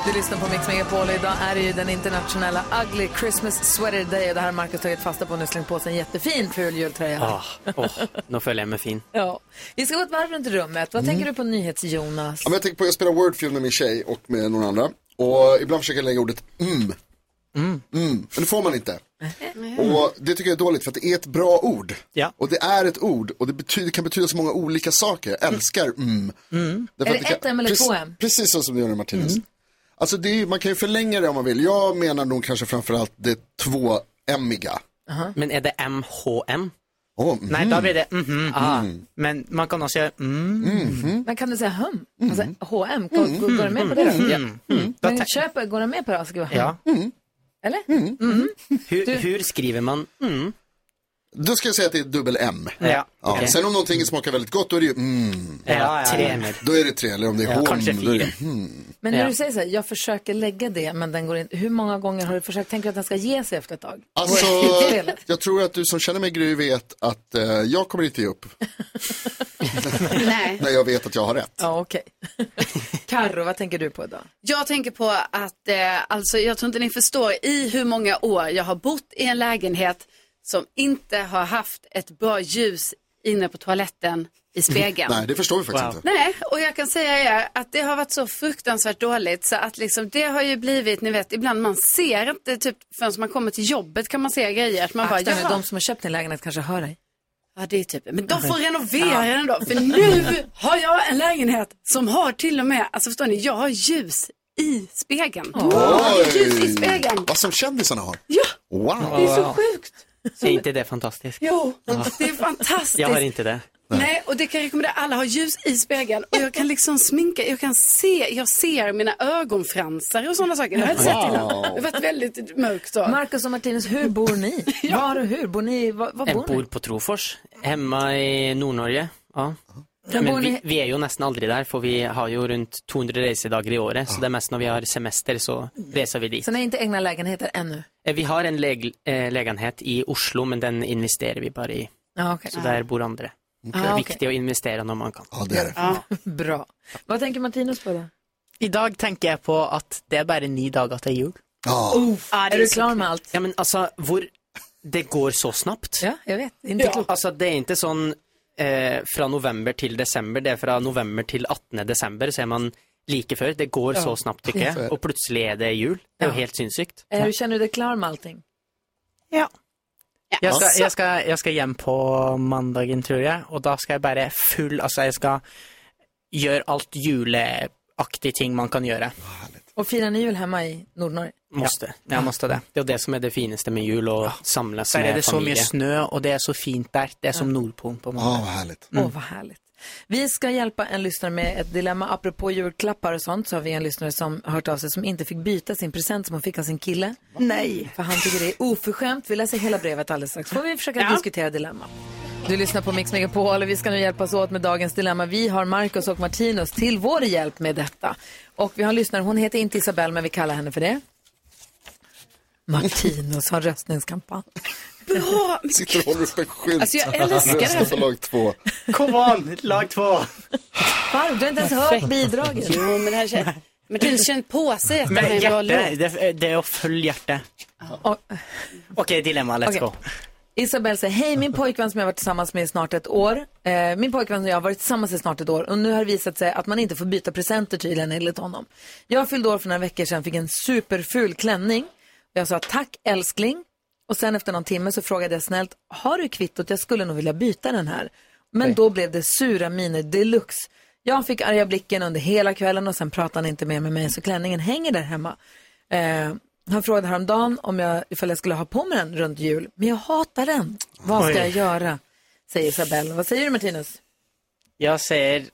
S1: Du lyssnar på Mix Megapol. Idag är det ju den internationella Ugly Christmas Sweater Day. Och det här har Marcus tagit fasta på nu. Slängt på sig en jättefin ful jultröja.
S16: Åh, Ah, åh, nu följer jag med fin.
S1: Ja. Vi ska gå ett varv runt rummet. Vad
S16: Mm.
S1: tänker du på NyhetsJonas?
S3: Ja, men jag tänker på, jag spelar Wordfeud med min tjej och med någon andra. Och ibland försöker jag lägga ordet mm. Mm. Men det får man inte. Och det tycker jag är dåligt för att det är ett bra ord. Och det är ett ord och det betyder, kan betyda så många olika saker. Jag älskar mm. Därför
S1: Är
S3: att
S1: det ett
S3: kan-
S1: M eller
S3: precis-
S1: två M?
S3: Precis så som du gör nu Martinez. Alltså det är, ju- man kan ju förlänga det om man vill. Jag menar nog kanske framförallt det tvåämmiga.
S16: Men är det MHM?
S3: Oh,
S16: Nej, då blir det mhm.
S3: Mm.
S16: Ah, Men man kan också göra mm.
S1: Men kan du säga hum? Alltså, H&M, går, går, går du med på det Mm. då?
S16: Ja.
S1: Men köper, går du med på det? Ska vi ha hum?
S16: Mm. Ja.
S1: Eller? Mm.
S16: Hur, hur skriver man mm?
S3: Då ska jag säga att det är dubbel M.
S16: Ja. Okej.
S3: Sen om någonting smakar väldigt gott då är det ju mm.
S16: Ja, ja,
S1: tre ja. M.
S3: Då är det tre, eller om det är
S16: Ja,
S3: hom,
S16: kanske
S3: då är det
S16: fyra.
S3: mm.
S1: Men när
S3: Ja.
S1: du säger så här, jag försöker lägga det, men den går inte. Hur många gånger har du försökt? Tänker du att den ska ge sig efter ett tag?
S3: Alltså, jag tror att du som känner mig Gry vet att eh, jag kommer inte ge upp
S2: Nej.
S3: när jag vet att jag har rätt.
S1: Ja, okej. Karo, vad tänker du på idag?
S2: Jag tänker på att, eh, alltså jag tror inte ni förstår i hur många år jag har bott i en lägenhet som inte har haft ett bra ljus inne på toaletten i spegeln.
S3: Nej, det förstår vi faktiskt inte.
S2: Nej, och jag kan säga er att det har varit så fruktansvärt dåligt så att liksom det har ju blivit, ni vet, ibland man ser inte, typ förrän man kommer till jobbet kan man se grejer. Att man bara,
S1: Akta nu,
S2: "Jaha."
S1: de som har köpt din lägenhet kanske hör dig.
S2: Ja, det är typ, men de får renovera den då, för nu har jag en lägenhet som har till och med, alltså förstår ni, jag har ljus i spegeln. Jag har ljus i spegeln.
S3: Vad som kändisarna har.
S2: Ja,
S3: Wow.
S2: det är så sjukt.
S16: Är inte det fantastiskt?
S2: Jo,
S16: Ja.
S2: det är fantastiskt.
S16: Jag har inte det.
S2: Nej, och det kan jag rekommendera. Alla har ljus i spegeln och jag kan liksom sminka, jag kan se, jag ser mina ögonfransar och sådana saker. Det har jag inte sett innan.
S1: Wow.
S2: Det har varit väldigt mörkt då.
S1: Marcus och Martinus, hur bor ni? Var och hur? Bor ni, var, var
S16: Jag
S1: bor
S16: bor
S1: ni?
S16: på Trofors, hemma i Nord-Norge. Ja.
S1: Men bor
S16: Men
S1: ni-
S16: vi, vi är ju nästan aldrig där, för vi har ju runt 200 resedagar i året, så det är mest när vi har semester så reser vi dit.
S1: Så ni har inte egna lägenheter ännu?
S16: Eh, Vi har en läg, eh, lägenhet i Oslo, men den investerar vi bara i.
S1: Ja, okej.
S16: Så där bor andra.
S1: Okej.
S16: Det
S1: Ah,
S16: är
S1: okej.
S16: viktigt att investera när man kan.
S3: Ja, det är det.
S1: Bra. Vad tänker Martinus på då?
S16: Idag tänker jag på att det är bara nio dagar till jul. Oh.
S1: Uff,
S16: Ja, det
S1: är du
S16: så
S1: klar
S16: kul.
S1: med allt?
S16: Ja, men alltså, hvor... det går så snabbt.
S1: Ja, jag vet. Det är Inte klokt.
S16: Alltså, det är inte sån eh, från november till december, det är från november till 18 december, så är man lika för. Det går
S1: Ja.
S16: så snabbt tycker
S1: Ja.
S16: jag. Och plötsligt är det jul. Det är ju helt sinnssykt.
S1: Är du, Eh, känner du dig klar med allting?
S16: Ja. Jag
S1: Alltså.
S16: ska, jag, ska, jag ska hem på måndagen tror jag och då ska jag bara full, alltså jag ska göra allt juleaktigt ting man kan göra.
S1: Och firar ni jul hemma i Nordnorge?
S16: Måste, jag måste det. Det är det som är det finaste med jul och samlas
S15: Där
S16: med
S15: är det så
S16: familje.
S15: mycket
S16: snö och det är så fint där. Det är som Nordpolen på måndag. Mm.
S3: vad härligt.
S1: Åh, vad härligt. Vi ska hjälpa en lyssnare med ett dilemma. Apropå julklappar och sånt så har vi en lyssnare som har hört av sig som inte fick byta sin present som hon fick av sin kille.
S17: Nej.
S1: För han tycker det är oförskämt. Vi läser hela brevet alldeles strax. Får vi försöka diskutera dilemma. Du lyssnar på Mix Megapol och vi ska nu hjälpas åt med dagens dilemma. Vi har Marcus och Martinus till vår hjälp med detta. Och vi har en lyssnare, hon heter inte Isabel men vi kallar henne för det. Martinus har röstningskampanj.
S2: Bra!
S3: Sitter och håller upp en skylt.
S1: Alltså, jag älskar det här.
S3: Rösta på lag två.
S15: Kom on, lag två.
S1: Farb, du har inte ens hört bidraget.
S2: Jo, men det här känns... Martin känner på sig att det här
S16: Men
S2: är en bra
S16: hjerte,
S2: låt.
S16: det, det är full hjerte. Okej, dilemma, let's
S1: Okej.
S16: go.
S1: Isabel säger, hej min pojkvän som jag har varit tillsammans med i snart ett år. Eh, min pojkvän och jag har varit tillsammans i snart ett år och nu har det visat sig att man inte får byta presenter tydligen enligt honom. Jag fyllde år för några veckor sedan, fick en superful klänning. Jag sa tack älskling och sen efter någon timme så frågade jag snällt, har du kvittot? Jag skulle nog vilja byta den här. Men då blev det sura miner deluxe. Jag fick arga blicken under hela kvällen och sen pratade han inte mer med mig så klänningen hänger där hemma. Eh, han frågade häromdagen om jag, ifall jag skulle ha på mig den runt jul, men jag hatar den. Vad ska
S16: Oj.
S1: jag göra? Säger Isabelle. Vad säger du Martinus?
S16: Jag säger...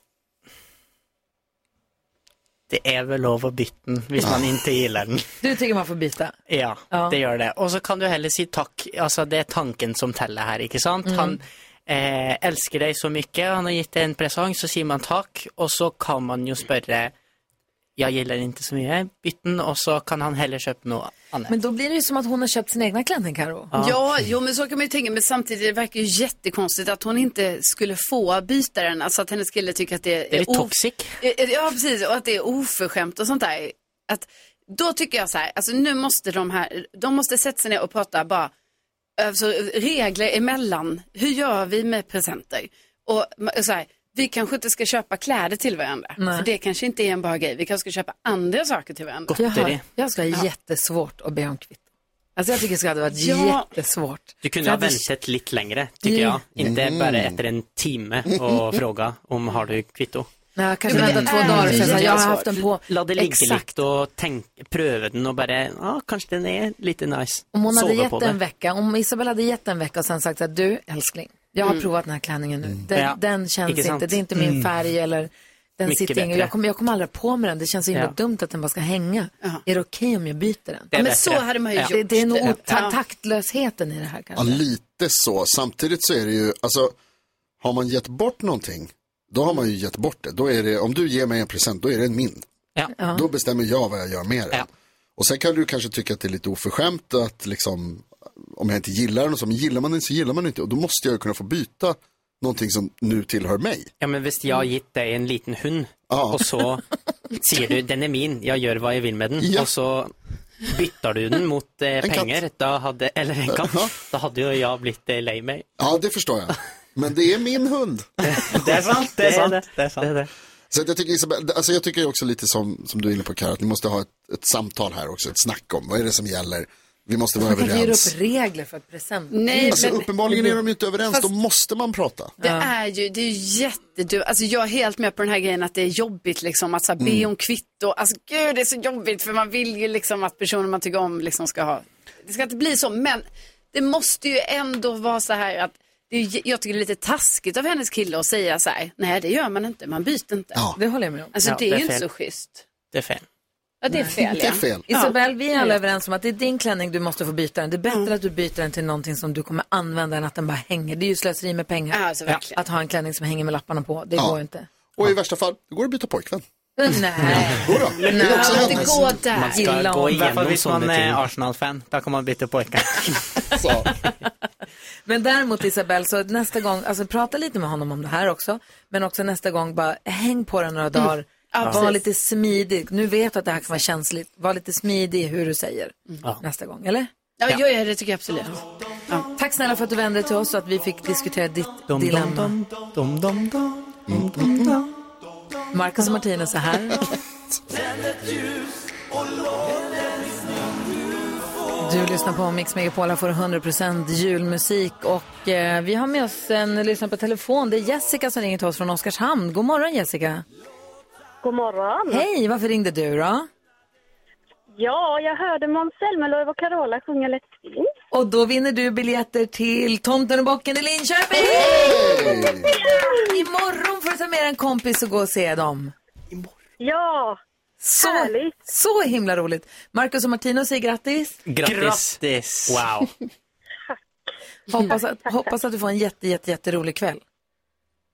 S16: Det är väl lov att byta den, om man inte gillar den.
S1: Du tycker man får byta?
S16: Ja, det gör det. Och så kan du heller si takk. Altså, det er tanken som teller her, ikke sant?
S1: Mm.
S16: Han eh, elsker deg så mye, han har gitt deg en presang, så sier man takk, og så kan man jo spørre Jeg gillar den ikke så mye, bytt den, og så kan han heller kjøpe noe annet.
S1: Men då blir det ju som att hon har köpt sin egna klänning, Karo.
S2: Ja, jo, men så kan man ju tänka, men samtidigt det verkar ju jättekonstigt att hon inte skulle få byta den, alltså att hennes kille tycker att det är...
S16: Det är lite
S2: of-
S16: toxic.
S2: Ja, precis, och att det är oförskämt och sånt där. Att, då tycker jag så här, alltså nu måste de här, de måste sätta sig ner och prata bara, alltså, regler emellan, hur gör vi med presenter? Och ma- så här, vi kanske inte ska köpa kläder till varandra,
S1: Nej.
S2: för det kanske inte är en bra grej, vi kanske ska köpa andra saker till varandra.
S1: Jag, har, jag ska ha jättesvårt att be om kvitto. Alltså jag tycker det hade varit
S2: Ja.
S1: jättesvårt.
S16: Du
S1: Så
S16: kunde ha
S1: hade-
S16: ventet litt lengre, tycker jag. Inte
S1: Mm.
S16: bara efter en timme och fråga om har du kvitto.
S1: Nej, jag kanske väntar två dagar och sen så här, jag har haft den på.
S16: La det ligge
S1: Exakt.
S16: litt og tenk, prøve den og bare Ja, kanskje den er litt nice.
S1: Om hon hade
S16: Sove
S1: gett
S16: på
S1: en
S16: det.
S1: vecka, om Isabel hade gett en vecka och sen sagt att du älskling, jag har
S16: Mm.
S1: provat den här klänningen nu. Den,
S16: Ja.
S1: den känns
S16: Inte
S1: inte,
S16: sant?
S1: det är inte
S16: Mm.
S1: min färg eller den
S16: Mycket
S1: sitter ingen,
S16: bättre.
S1: jag kommer, jag kommer aldrig på med den, det känns så himla
S16: Ja.
S1: dumt att den bara ska hänga. Är det okej om jag byter den?
S3: Det är Ja, men bättre. så hade man ju gjort.
S1: Det, det är nog
S3: Ja.
S1: ota- taktlösheten i det här
S3: Ja,
S1: kanske.
S3: lite så. Samtidigt så är det ju, alltså, har man gett bort någonting, då har man ju gett bort det. Då är det, om du ger mig en present, då är det min.
S1: Ja.
S3: Då bestämmer jag vad jag gör med den. Och sen kan du kanske tycka att det är lite oförskämt att liksom, om jag inte gillar den och så, men gillar man den så gillar man den inte. Och då måste jag ju kunna få byta någonting som nu tillhör mig.
S16: Ja, men hvis jeg har gitt deg en liten hund, og så sier du 'den er min, jeg gjør hva jeg vil med den', og så bytter du den mot eh,
S3: En katt.
S16: penger, da hadde, eller en katt, da hadde jo jeg blitt eh, lei meg.
S3: Ja, det förstår jag. Men det är min hund.
S16: Det är sant, det är sant, det är sant.
S3: Så att jag tycker, Isabel, alltså jag tycker också lite som, som du är inne på Karin, att ni måste ha ett, ett samtal här också, ett snack om vad är det som gäller. Vi måste vara
S1: Man kan ge
S3: överens.
S1: upp regler för ett present.
S2: Nej,
S3: Alltså,
S2: men-
S3: uppenbarligen är de ju inte överens, då måste man prata.
S2: Det är ju, det är ju jättedumt. Alltså jag är helt med på den här grejen att det är jobbigt liksom att så här, be
S3: Mm.
S2: om kvitto. Alltså gud det är så jobbigt för man vill ju liksom att personen man tycker om liksom ska ha. Det ska inte bli så men det måste ju ändå vara så här att det är, ju- jag tycker det är lite taskigt av hennes kille att säga så här, nej det gör man inte, man byter inte.
S1: Det håller jag med om.
S2: Alltså
S1: Ja,
S2: det är
S1: det är
S2: ju inte
S1: fel.
S2: så schysst.
S16: Det är fel.
S2: Ja det är
S1: Nej.
S2: fel. ja.
S1: Isabel, vi är alla överens om att det är din klänning du måste få byta den. Det är bättre att du byter den till någonting som du kommer använda än att den bara hänger. Det är ju slöseri med pengar.
S2: Alltså, verkligen.
S1: Att ha en klänning som hänger med lapparna på, det
S3: Ja.
S1: går inte.
S3: Och i värsta fall, det går att byta pojkvän.
S1: Nej.
S3: Jodå, det är också
S1: Nej,
S3: hennes.
S1: gå där.
S16: Man
S1: Gilla
S16: skal gå
S1: om- I hvert fall
S16: igjennom
S1: hvis man
S16: sånne
S1: er
S16: ting. Arsenal-fan, da kan man bytte pojker.
S1: Men däremot Isabel, så nästa gång, alltså prata lite med honom om det här också. Men också nästa gång, bara häng på den några dagar.
S2: Mm. Ja,
S1: var
S2: precis.
S1: lite smidig. Nu vet du att det här kan vara känsligt. Var lite smidig i hur du säger
S2: Mm. Ja.
S1: nästa gång, eller?
S2: Ja, ja, ja det tycker jag absolut.
S1: Tack snälla för att du vände dig till oss och att vi fick diskutera ditt
S16: dom,
S1: dilemma.
S16: dom, dom, dom, dom, dom,
S1: dom, dom. Marcus och Martinus är här. Du lyssnar på Mix Megapol, här får du 100% julmusik och eh, vi har med oss en lyssnare på telefon. Det är Jessica som ringer till oss från Oskarshamn. God morgon Jessica!
S18: God morgon.
S1: Hej, varför ringde du då?
S18: Ja, jag hörde Måns Zelmerlöw och Carola sjunga Let's Sing.
S1: Och då vinner du biljetter till Tomten och bocken i Linköping! Imorgon får du se en kompis och gå och se dem.
S18: Ja,
S1: så, härligt. Så himla roligt. Marcus och Martino säger grattis.
S16: Grattis. Wow.
S1: Hoppas att, hoppas att du får en jätte, jätte, jätterolig kväll.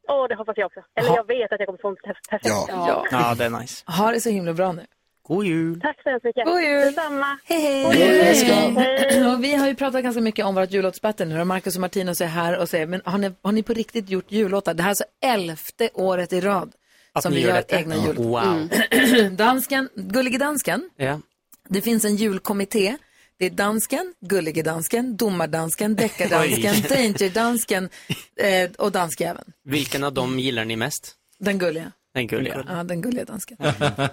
S18: Åh, det hoppas jag också. Eller jag vet att jag kommer få en perf- perfekt dag.
S16: Ja, det är nice.
S1: Ha det så himla bra nu.
S16: God jul.
S18: Tack så hemskt mycket.
S1: God jul.
S18: Detsamma.
S1: Hej,
S18: God jul.
S1: Och vi har ju pratat ganska mycket om vårt jullåtsbattle nu. och Marcus och Martinus är här och säger, men har ni, har ni på riktigt gjort jullåtar? Det här är alltså elfte året i rad
S16: Att
S1: som
S16: ni
S1: vi
S16: gör
S1: gör
S16: detta?
S1: egna
S16: Ja.
S1: jullåtar.
S16: Wow.
S1: Mm. dansken, Gullige Dansken,
S16: Ja.
S1: det finns en julkommitté. Det är dansken, Gullige Dansken, Domardansken, Deckardansken,
S16: Oj.
S1: Dangerdansken eh, och danskjäveln.
S16: Vilken av dem gillar ni mest?
S1: Den gulliga.
S16: Den gulliga.
S1: Ja, den gulliga dansken.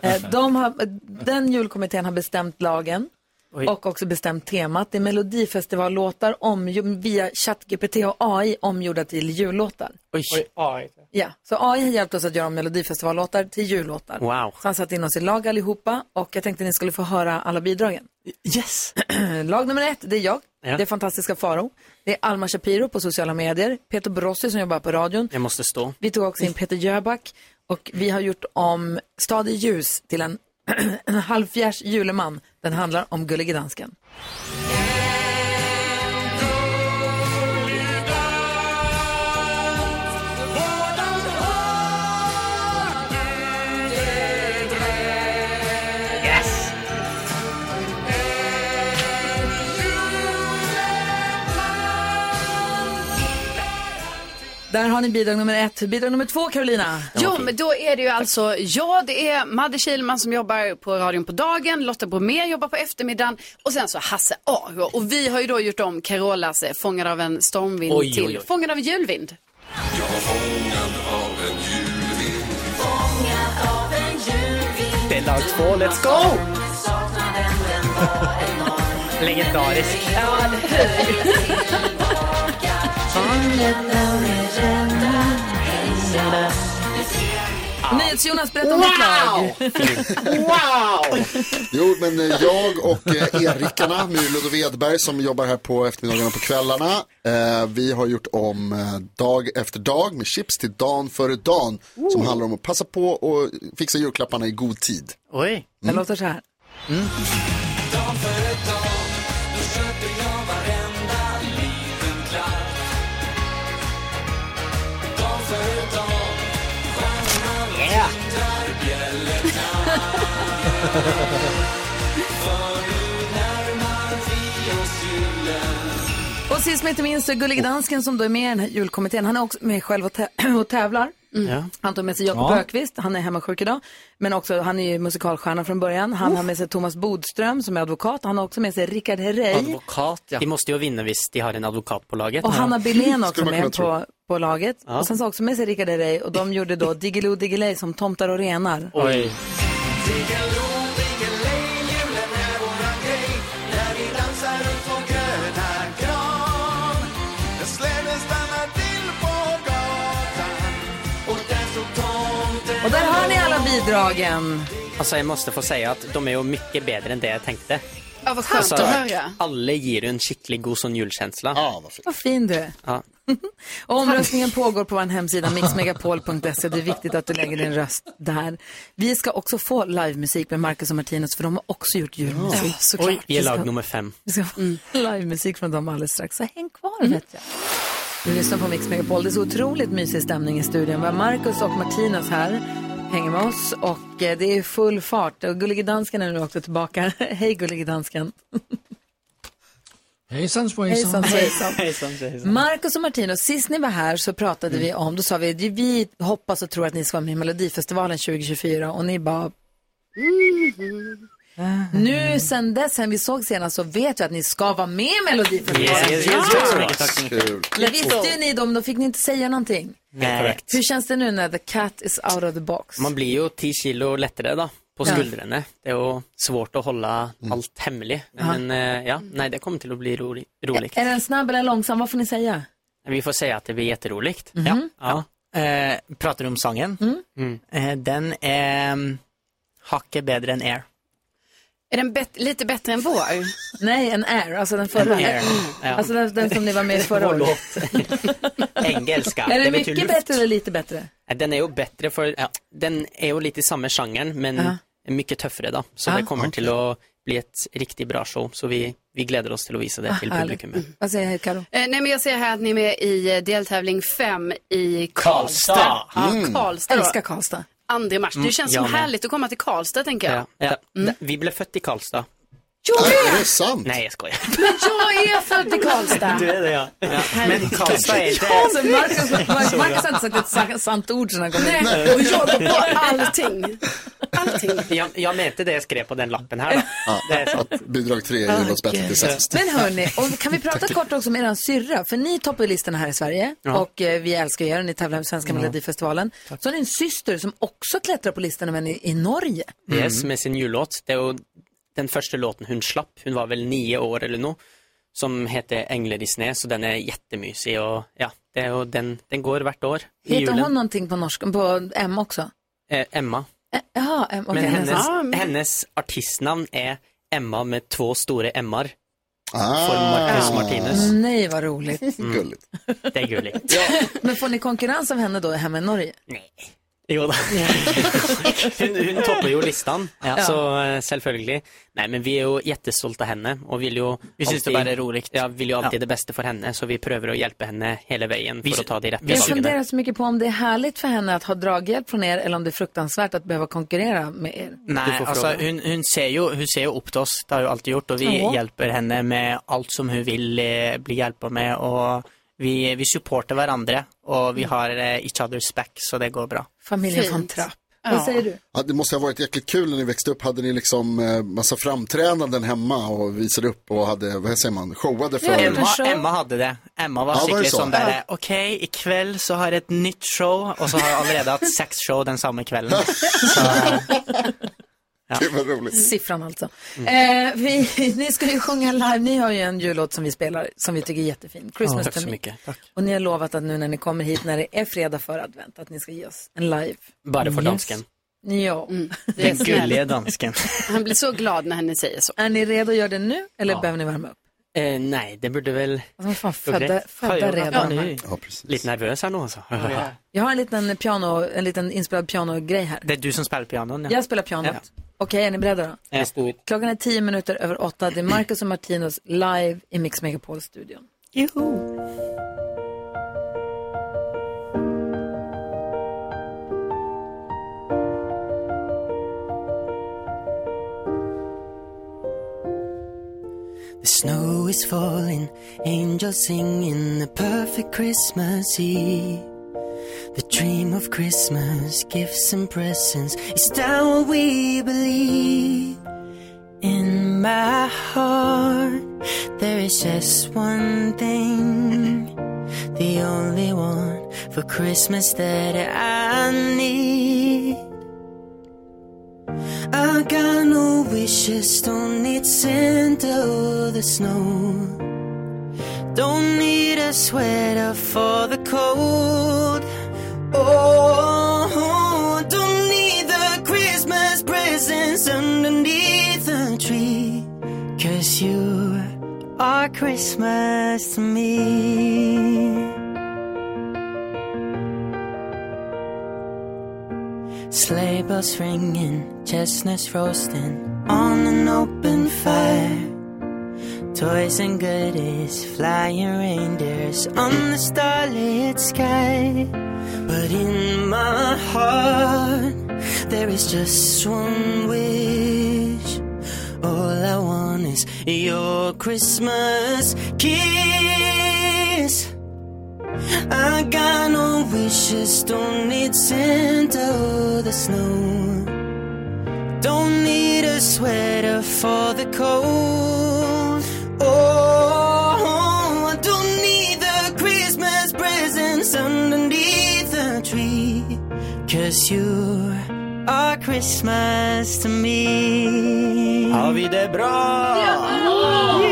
S1: Eh, De har, eh, den julkommittén har bestämt lagen
S16: Oj.
S1: och också bestämt temat. Det är melodifestivallåtar om, via ChatGPT och AI omgjorda till jullåtar.
S16: Oj. Oj.
S1: Ja, så AI har hjälpt oss att göra om melodifestivallåtar till jullåtar.
S16: Wow.
S1: Så han satte in oss i lag allihopa och jag tänkte ni skulle få höra alla bidragen.
S16: Yes!
S1: lag nummer ett, det är jag.
S16: Ja.
S1: Det är fantastiska Faro. Det är Alma Shapiro på sociala medier. Peter Borossi som jobbar på radion.
S16: Jag måste stå. Mm.
S1: Vi tog också in Peter Jöback och vi har gjort om Stad i ljus till en, en halvfjärs juleman. Den handlar om Gullige dansken.
S5: Yes!
S1: Där har ni bidrag nummer ett. Bidrag nummer två, Carolina.
S2: Jo, men då är det ju alltså, ja det är Madde Kihlman som jobbar på radion på dagen, Lotta Bromé jobbar på eftermiddagen och sen så Hasse Aro. Och vi har ju då gjort om Carolas eh, Fångad av en stormvind
S5: Oj, oj,
S2: till
S5: oj.
S2: Fångad av en julvind.
S5: Jag var fångad av en julvind
S16: Det är lag två, let's go! Legendarisk.
S2: Ja,
S1: NyhetsJonas, berätta om ditt lag.
S3: Wow! Jo, men eh, jag och eh, Erikarna, Myrlund och Vedberg som jobbar här på eftermiddagarna och på kvällarna. Eh, vi har gjort om eh, dag efter dag med chips till dan före dan. Som handlar om att passa på och fixa julklapparna i god tid.
S16: Oj. Mm.
S1: Det låter så här.
S5: Dan för ett dag Då köper jag varenda liten klapp Dan för ett dag Stjärnorna yeah. tindrar bjällorna För nu närmar vi oss julen
S1: Och sist men inte minst så är
S16: Oh.
S1: Gullige dansken som då är med i den här julkommittén. Han är också med själv och, tä- och tävlar.
S5: Mm.
S16: Ja.
S1: Han tog med sig Jakob
S16: Ja.
S1: Ökvist, han är hemmasjuk idag. Men också, han är ju musikalstjärna från början.
S16: Oh.
S1: Han har med sig Thomas Bodström som är advokat. Han har också med sig Rickard Herrey.
S16: Advokat, ja. De måste ju vinna visst de har en advokat på laget.
S1: Och Hanna Billén också
S16: Skulle man kunna
S1: med
S16: tro.
S1: på, på laget.
S16: Ja.
S1: Och sen så också med sig Rickard Herrey och de gjorde då Diggiloo Diggiley som Tomtar och renar.
S16: Oj.
S5: Diggeloo, diggelej, julen är våran grej När vi dansar runt vår gröna gran Jag släden stannar till på gatan Och där stod tomten
S1: Och där har ni alla bidragen.
S16: Alltså jag måste få säga att de är ju mycket bättre än det jag tänkte.
S2: Ja, vad skönt
S16: alltså,
S2: att höra.
S16: Alla ger ju en skicklig god sån julkänsla. Ja, vad fint.
S1: Vad fin du är.
S16: Ja.
S1: Och omröstningen pågår på vår hemsida mixmegapol.se. Det är viktigt att du lägger din röst där. Vi ska också få livemusik med Marcus och Martinus för de har också gjort julmusik.
S16: Oj, vi är lag nummer fem.
S1: Vi ska få livemusik från dem alldeles strax, så häng kvar vet jag. Du lyssnar på Mix Megapol. Det är så otroligt mysig stämning i studion. Vi har Marcus och Martinus här, hänger med oss och eh, det är full fart. Och Gullige Dansken är nu också tillbaka. Hej Gullige Dansken.
S10: Hejsan
S1: Hejsan,
S10: svejsan.
S1: svejsan.
S16: hejsan. Mm.
S1: Marcus och Martinus, sist ni var här så pratade vi om, då sa vi vi hoppas och tror att ni ska vara med i Melodifestivalen 2024 och ni bara
S16: Mm.
S1: nu sen dess, sen vi såg senast, så vet vi att ni ska vara med i Melodifestivalen.
S16: Yes, yes, yes. Tack så mycket, tack så mycket.
S3: Kul.
S1: Det visste ju ni dem, då fick ni inte säga någonting.
S16: Nej. Korrekt.
S1: Hur känns det nu när the cat is out of the box?
S16: Man blir ju 10 kilo lättare då, på
S1: Ja.
S16: skuldrene. Det är ju svårt att hålla
S1: Mm.
S16: allt hemligt. Men eh, ja, nej, det kommer till att bli rolig, roligt.
S1: Är den snabb eller långsam? Vad får ni säga?
S16: Vi får säga att det blir jätteroligt. Ja. Ja. Eh, pratar du om sången? Mm. Eh, den är um, hacke bättre än air.
S2: Är den bet- lite bättre än vår?
S1: Nej, en Air, alltså den förra.
S2: En Air, ja.
S1: Alltså den, den som ni var med i förra
S16: Vår
S1: året.
S16: låt. Engelska.
S1: Är det
S16: betyder
S1: mycket
S16: luft.
S1: bättre eller lite bättre?
S16: Nej, Den är ju bättre för, ja, den är ju lite i samma genren men
S1: Ja.
S16: mycket tuffare då. Så
S1: Ja.
S16: det kommer till att bli ett riktigt bra show. Så vi, vi gläder oss till att visa det till
S2: härligt.
S16: publiken med.
S1: Ah, Vad säger jag, Karo?
S2: Eh, nej, men jag ser här att ni är med i eh, deltävling 5 i Karlstad.
S16: Karlstad.
S2: Ja,
S16: Mm.
S2: Karlstad.
S16: Älskar
S1: Karlstad.
S2: 2 mars. Det
S16: Mm,
S2: känns som
S16: jag med.
S2: härligt att komma till Karlstad, tänker jag.
S16: Ja. Mm. Ja. Vi blev födda i Karlstad.
S2: Jo,
S16: Är det sant? Nej, jag skojar.
S2: Men jag är född i Karlstad.
S16: Du är det ja. Men Karlstad är inte...
S1: Alltså, Marcus, Marcus, Marcus har inte sagt ett sant, sant ord sedan han kom hit. Och jag går på allting.
S16: Jag, jag mente det jag skrev på den lappen här då. Det är sant.
S3: Bidrag tre är Jonas bättre till sämst.
S1: Men hörni, och kan vi prata kort också om eran syrra? För ni toppar ju listorna här i Sverige
S3: Ja.
S1: och eh, vi älskar er och ni tävlar i Svenska
S16: Ja.
S1: Melodifestivalen. Så har ni en syster som också klättrar på listorna men i, i Norge. Mm.
S16: Yes, med sin jullåt. Det var den första låten hon slapp. Hon var väl nio år eller något. Som heter Änglar i snö, så den är jättemysig och ja, det är, och den, den går vart år i
S1: Heter
S16: julen.
S1: hon någonting på norska, på M också?
S16: Eh, Emma.
S1: Jaha, M, okej.
S16: Men hennes,
S1: nästan.
S16: hennes artistnamn är Emma med två stora Mr.
S3: Ah.
S16: För Marcus Martinus.
S1: Mm, Nej, vad roligt.
S16: Mm. Gulligt. Det är gulligt.
S1: Men får ni konkurrens av henne då hemma i Norge?
S16: Jo da. hun, hun topper jo listan,
S1: Ja.
S16: så eh, selvfølgelig. Nei, men vi er jo jättestolte av henne, og vil jo
S5: Vi synes det bare er roligt.
S16: Ja, vil jo alltid
S5: Ja.
S16: det beste for henne, så vi prøver å hjelpe henne hele veien for å ta de rette
S1: Jag
S16: valgene.
S1: funderar så mycket på om det är härligt för henne att ha draghjälp från er eller om det är fruktansvärt att behöva konkurrera med er.
S16: Du
S5: Nei,
S16: får
S5: altså,
S16: fråga.
S5: hun, hun, alltså, ser jo, hun ser jo opp til oss, det har hun alltid gjort, og vi
S1: Ja.
S5: hjelper henne med alt som hun vil eh, bli hjulpet med, og vi, vi supporter hverandre, og vi har eh, each other's back, så det går bra.
S1: Familjen von Trapp. Vad säger du?
S3: Ja, det måste ha varit jäkligt kul när ni växte upp. Hade ni liksom eh, massa framträdanden hemma och visade upp och hade, vad säger man, showade för...
S5: Emma, Emma hade det. Emma var
S3: Ja, var det
S5: skikkelig
S3: så?
S5: sånn der Ok, i kveld så har jeg et nytt show, og så har jeg allerede hatt seks show den samme kvelden. Så, ja.
S3: Det var
S16: Mm.
S3: roligt.
S1: Siffran alltså. Eh, vi, ni ska ju sjunga live, ni har ju en jullåt som vi spelar som vi tycker är jättefin, Christmas
S16: Tack
S1: to
S16: så
S1: me.
S16: mycket. Tack.
S1: Och ni har lovat att nu när ni kommer hit när det är fredag för advent att ni ska ge oss en live.
S16: Bare for dansken.
S1: Ja.
S2: det är
S16: Den gullige
S2: snällt.
S16: dansken.
S2: Han blir så glad när ni säger så.
S1: Är ni redo att göra det nu eller behöver ni värma upp?
S16: Eh, nei, det burde vel
S1: Alltså, vad fan,
S16: gå
S1: födda,
S16: greit.
S1: födda
S16: Ja, ja,
S1: redan.
S16: ja,
S1: här.
S16: ja, precis. Litt nervøs her nå, altså.
S1: Jag har en liten, piano, en liten inspelad pianogrej här.
S16: Det er du som spiller pianoen,
S1: Jag spelar pianot. Okej, är ni beredda då?
S16: Jeg sto ut.
S1: Klockan är tio minuter över åtta. Det är Marcus och Martinus live i Mix Megapol-studion.
S5: Joho!
S19: The snow is falling, angels singing the perfect Christmas Eve. The dream of Christmas, gifts and presents, is down what we believe. In my heart, there is just one thing, the only one for Christmas that I need. I got no wishes, don't need Santa or the snow. Don't need a sweater for the cold. Oh, don't need the Christmas presents underneath the tree. Cause you are Christmas to me. Sleigh bells ringing, chestnuts roasting on an open fire. Toys and goodies, flying reindeers on the starlit sky. But in my heart, there is just one wish. All I want is your Christmas kiss. I got no wishes, don't need Santa or the snow. Don't need a sweater for the cold. Oh, I don't need the Christmas presents underneath the tree. Cause you are Christmas to me.
S5: Har vi det bra?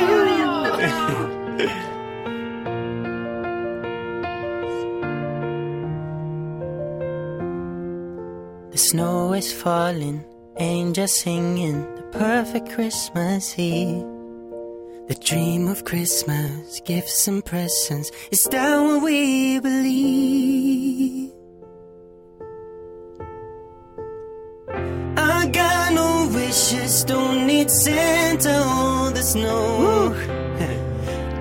S19: The snow is falling, angel singing the perfect Christmas Eve. The dream of Christmas, gifts and presents, is that what we believe? I got no wishes, don't need Santa or the snow.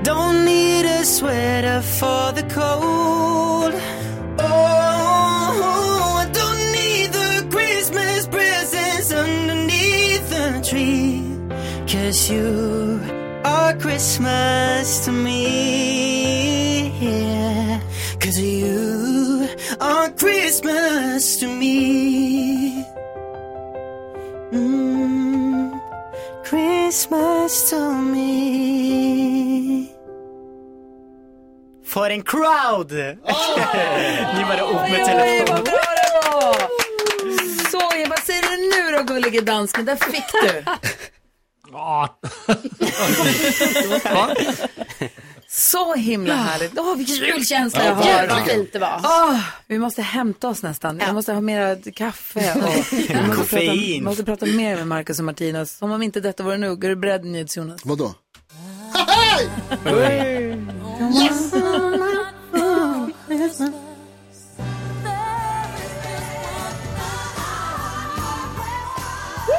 S19: Don't need a sweater for the cold. Oh, I don't need the Christmas presents underneath the tree. Cause you are Christmas to me. Yeah. Cause you are Christmas to me. Mm, Christmas to me.
S16: For en crowd! Ni bara upp med telefonen.
S1: Så, vad säger du nu då gullige dansken? Där fick du. Så himla härligt. Åh, vilken julkänsla jag har.
S2: Jävla vad fint det var.
S1: Åh, vi måste hämta oss nästan. Vi måste ha mera kaffe och vi måste prata,
S3: Koffein.
S1: måste prata mer med Marcus och Martinus. Som om inte detta vore nog. Är du beredd, NyhetsJonas?
S3: Vadå?
S1: Yes!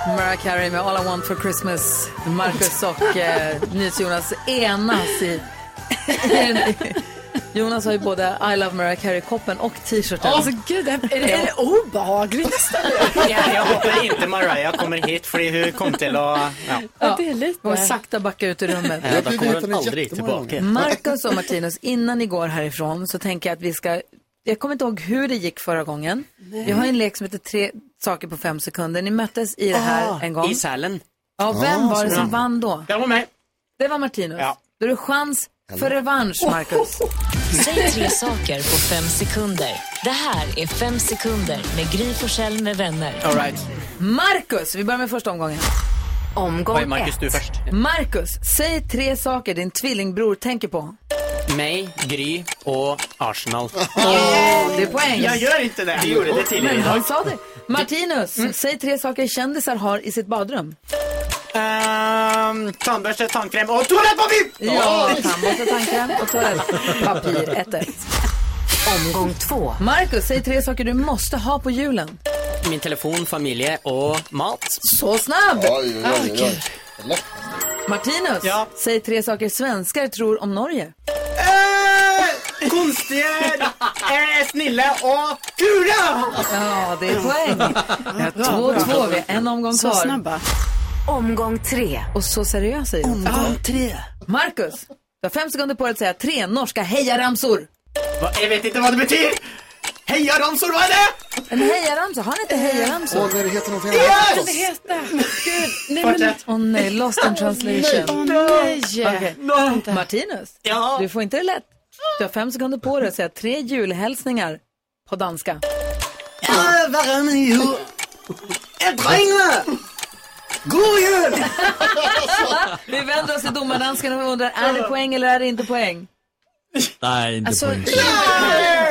S1: Mariah Carey med All I Want For Christmas. Marcus och eh, NyhetsJonas enas i... Jonas har ju både I Love Mariah Carey-koppen och t-shirten.
S16: Alltså,
S1: gud, är,
S16: det- är det
S1: obehagligt nästan?
S16: Ja, jag håper inte Mariah kommer hit, för hon kom till att... Ja.
S1: Ja, det är lite. Och sakta backa ut ur rummet.
S16: Ja, då kommer hon aldrig tillbaka.
S1: Mm. Marcus och Martinus, innan ni går härifrån så tänker jag att vi ska, jag kommer inte ihåg hur det gick förra gången.
S16: Nej.
S1: Vi har en lek som heter Tre saker på fem sekunder. Ni möttes i det här
S16: Ah,
S1: en gång.
S16: I Sälen.
S1: Ja, vem
S16: Ah,
S1: var det
S16: så
S1: som
S16: bra.
S1: vann då?
S16: Jag var med.
S1: Det var Martinus.
S16: Ja.
S1: Då är det chans för revansch, Marcus.
S6: Säg tre saker på fem sekunder. Det här är Fem sekunder med Gry Forssell med vänner.
S16: All right.
S1: Marcus, vi börjar med första omgången. Omgång
S16: Oj, Marcus, du först.
S1: Marcus, säg tre saker din tvillingbror tänker på.
S16: Mig, Gry och Arsenal.
S1: det är poäng.
S16: Jag gör inte det. Jag gjorde det tidigare Mm.
S1: Men han
S16: idag.
S1: sa det. Martinus, säg tre saker kändisar har i sitt badrum.
S16: Ehm, tandbörste, tandkräm och toalettpapper!
S1: Ja, tandborste, tandkräm och toalettpapir. 1-1. Omgång två. Marcus, säg tre saker du måste ha på julen.
S17: Min telefon, familje och mat.
S1: Så snabb!
S17: Oj, oj, oj, oj.
S1: Martinus, säg tre saker svenskar tror om Norge.
S16: Eh, Konstgjord, eh, snille och kula!
S1: Ja, det är poäng. Vi har två, två. Vi har en omgång
S16: Så
S1: kvar.
S16: snabba.
S1: Omgång tre. Och så seriösa är Omgång tre. Marcus, du har fem sekunder på dig att säga tre norska hejaramsor.
S16: Va, jag vet inte vad det betyder. Hejaramsor, vad är det?
S1: En hejaramsa, har ni inte hejaramsor?
S16: Åh, nej, det
S3: heter någonting
S16: annat. Yes!
S1: Vad heter det? Gud, nej men...
S16: Fortsätt.
S1: Åh nej, lost in translation.
S11: Åh, nej.
S1: Okej. Martinus, du får inte det lätt. Du har fem sekunder på dig att säga tre julhälsningar på danska.
S11: Varandra jul. Jag tränger. God jul!
S1: Vi vänder oss till domardansken och undrar, är det poäng eller är det inte poäng?
S10: Nej, inte
S1: Alltså,
S10: poäng.
S1: 2-2.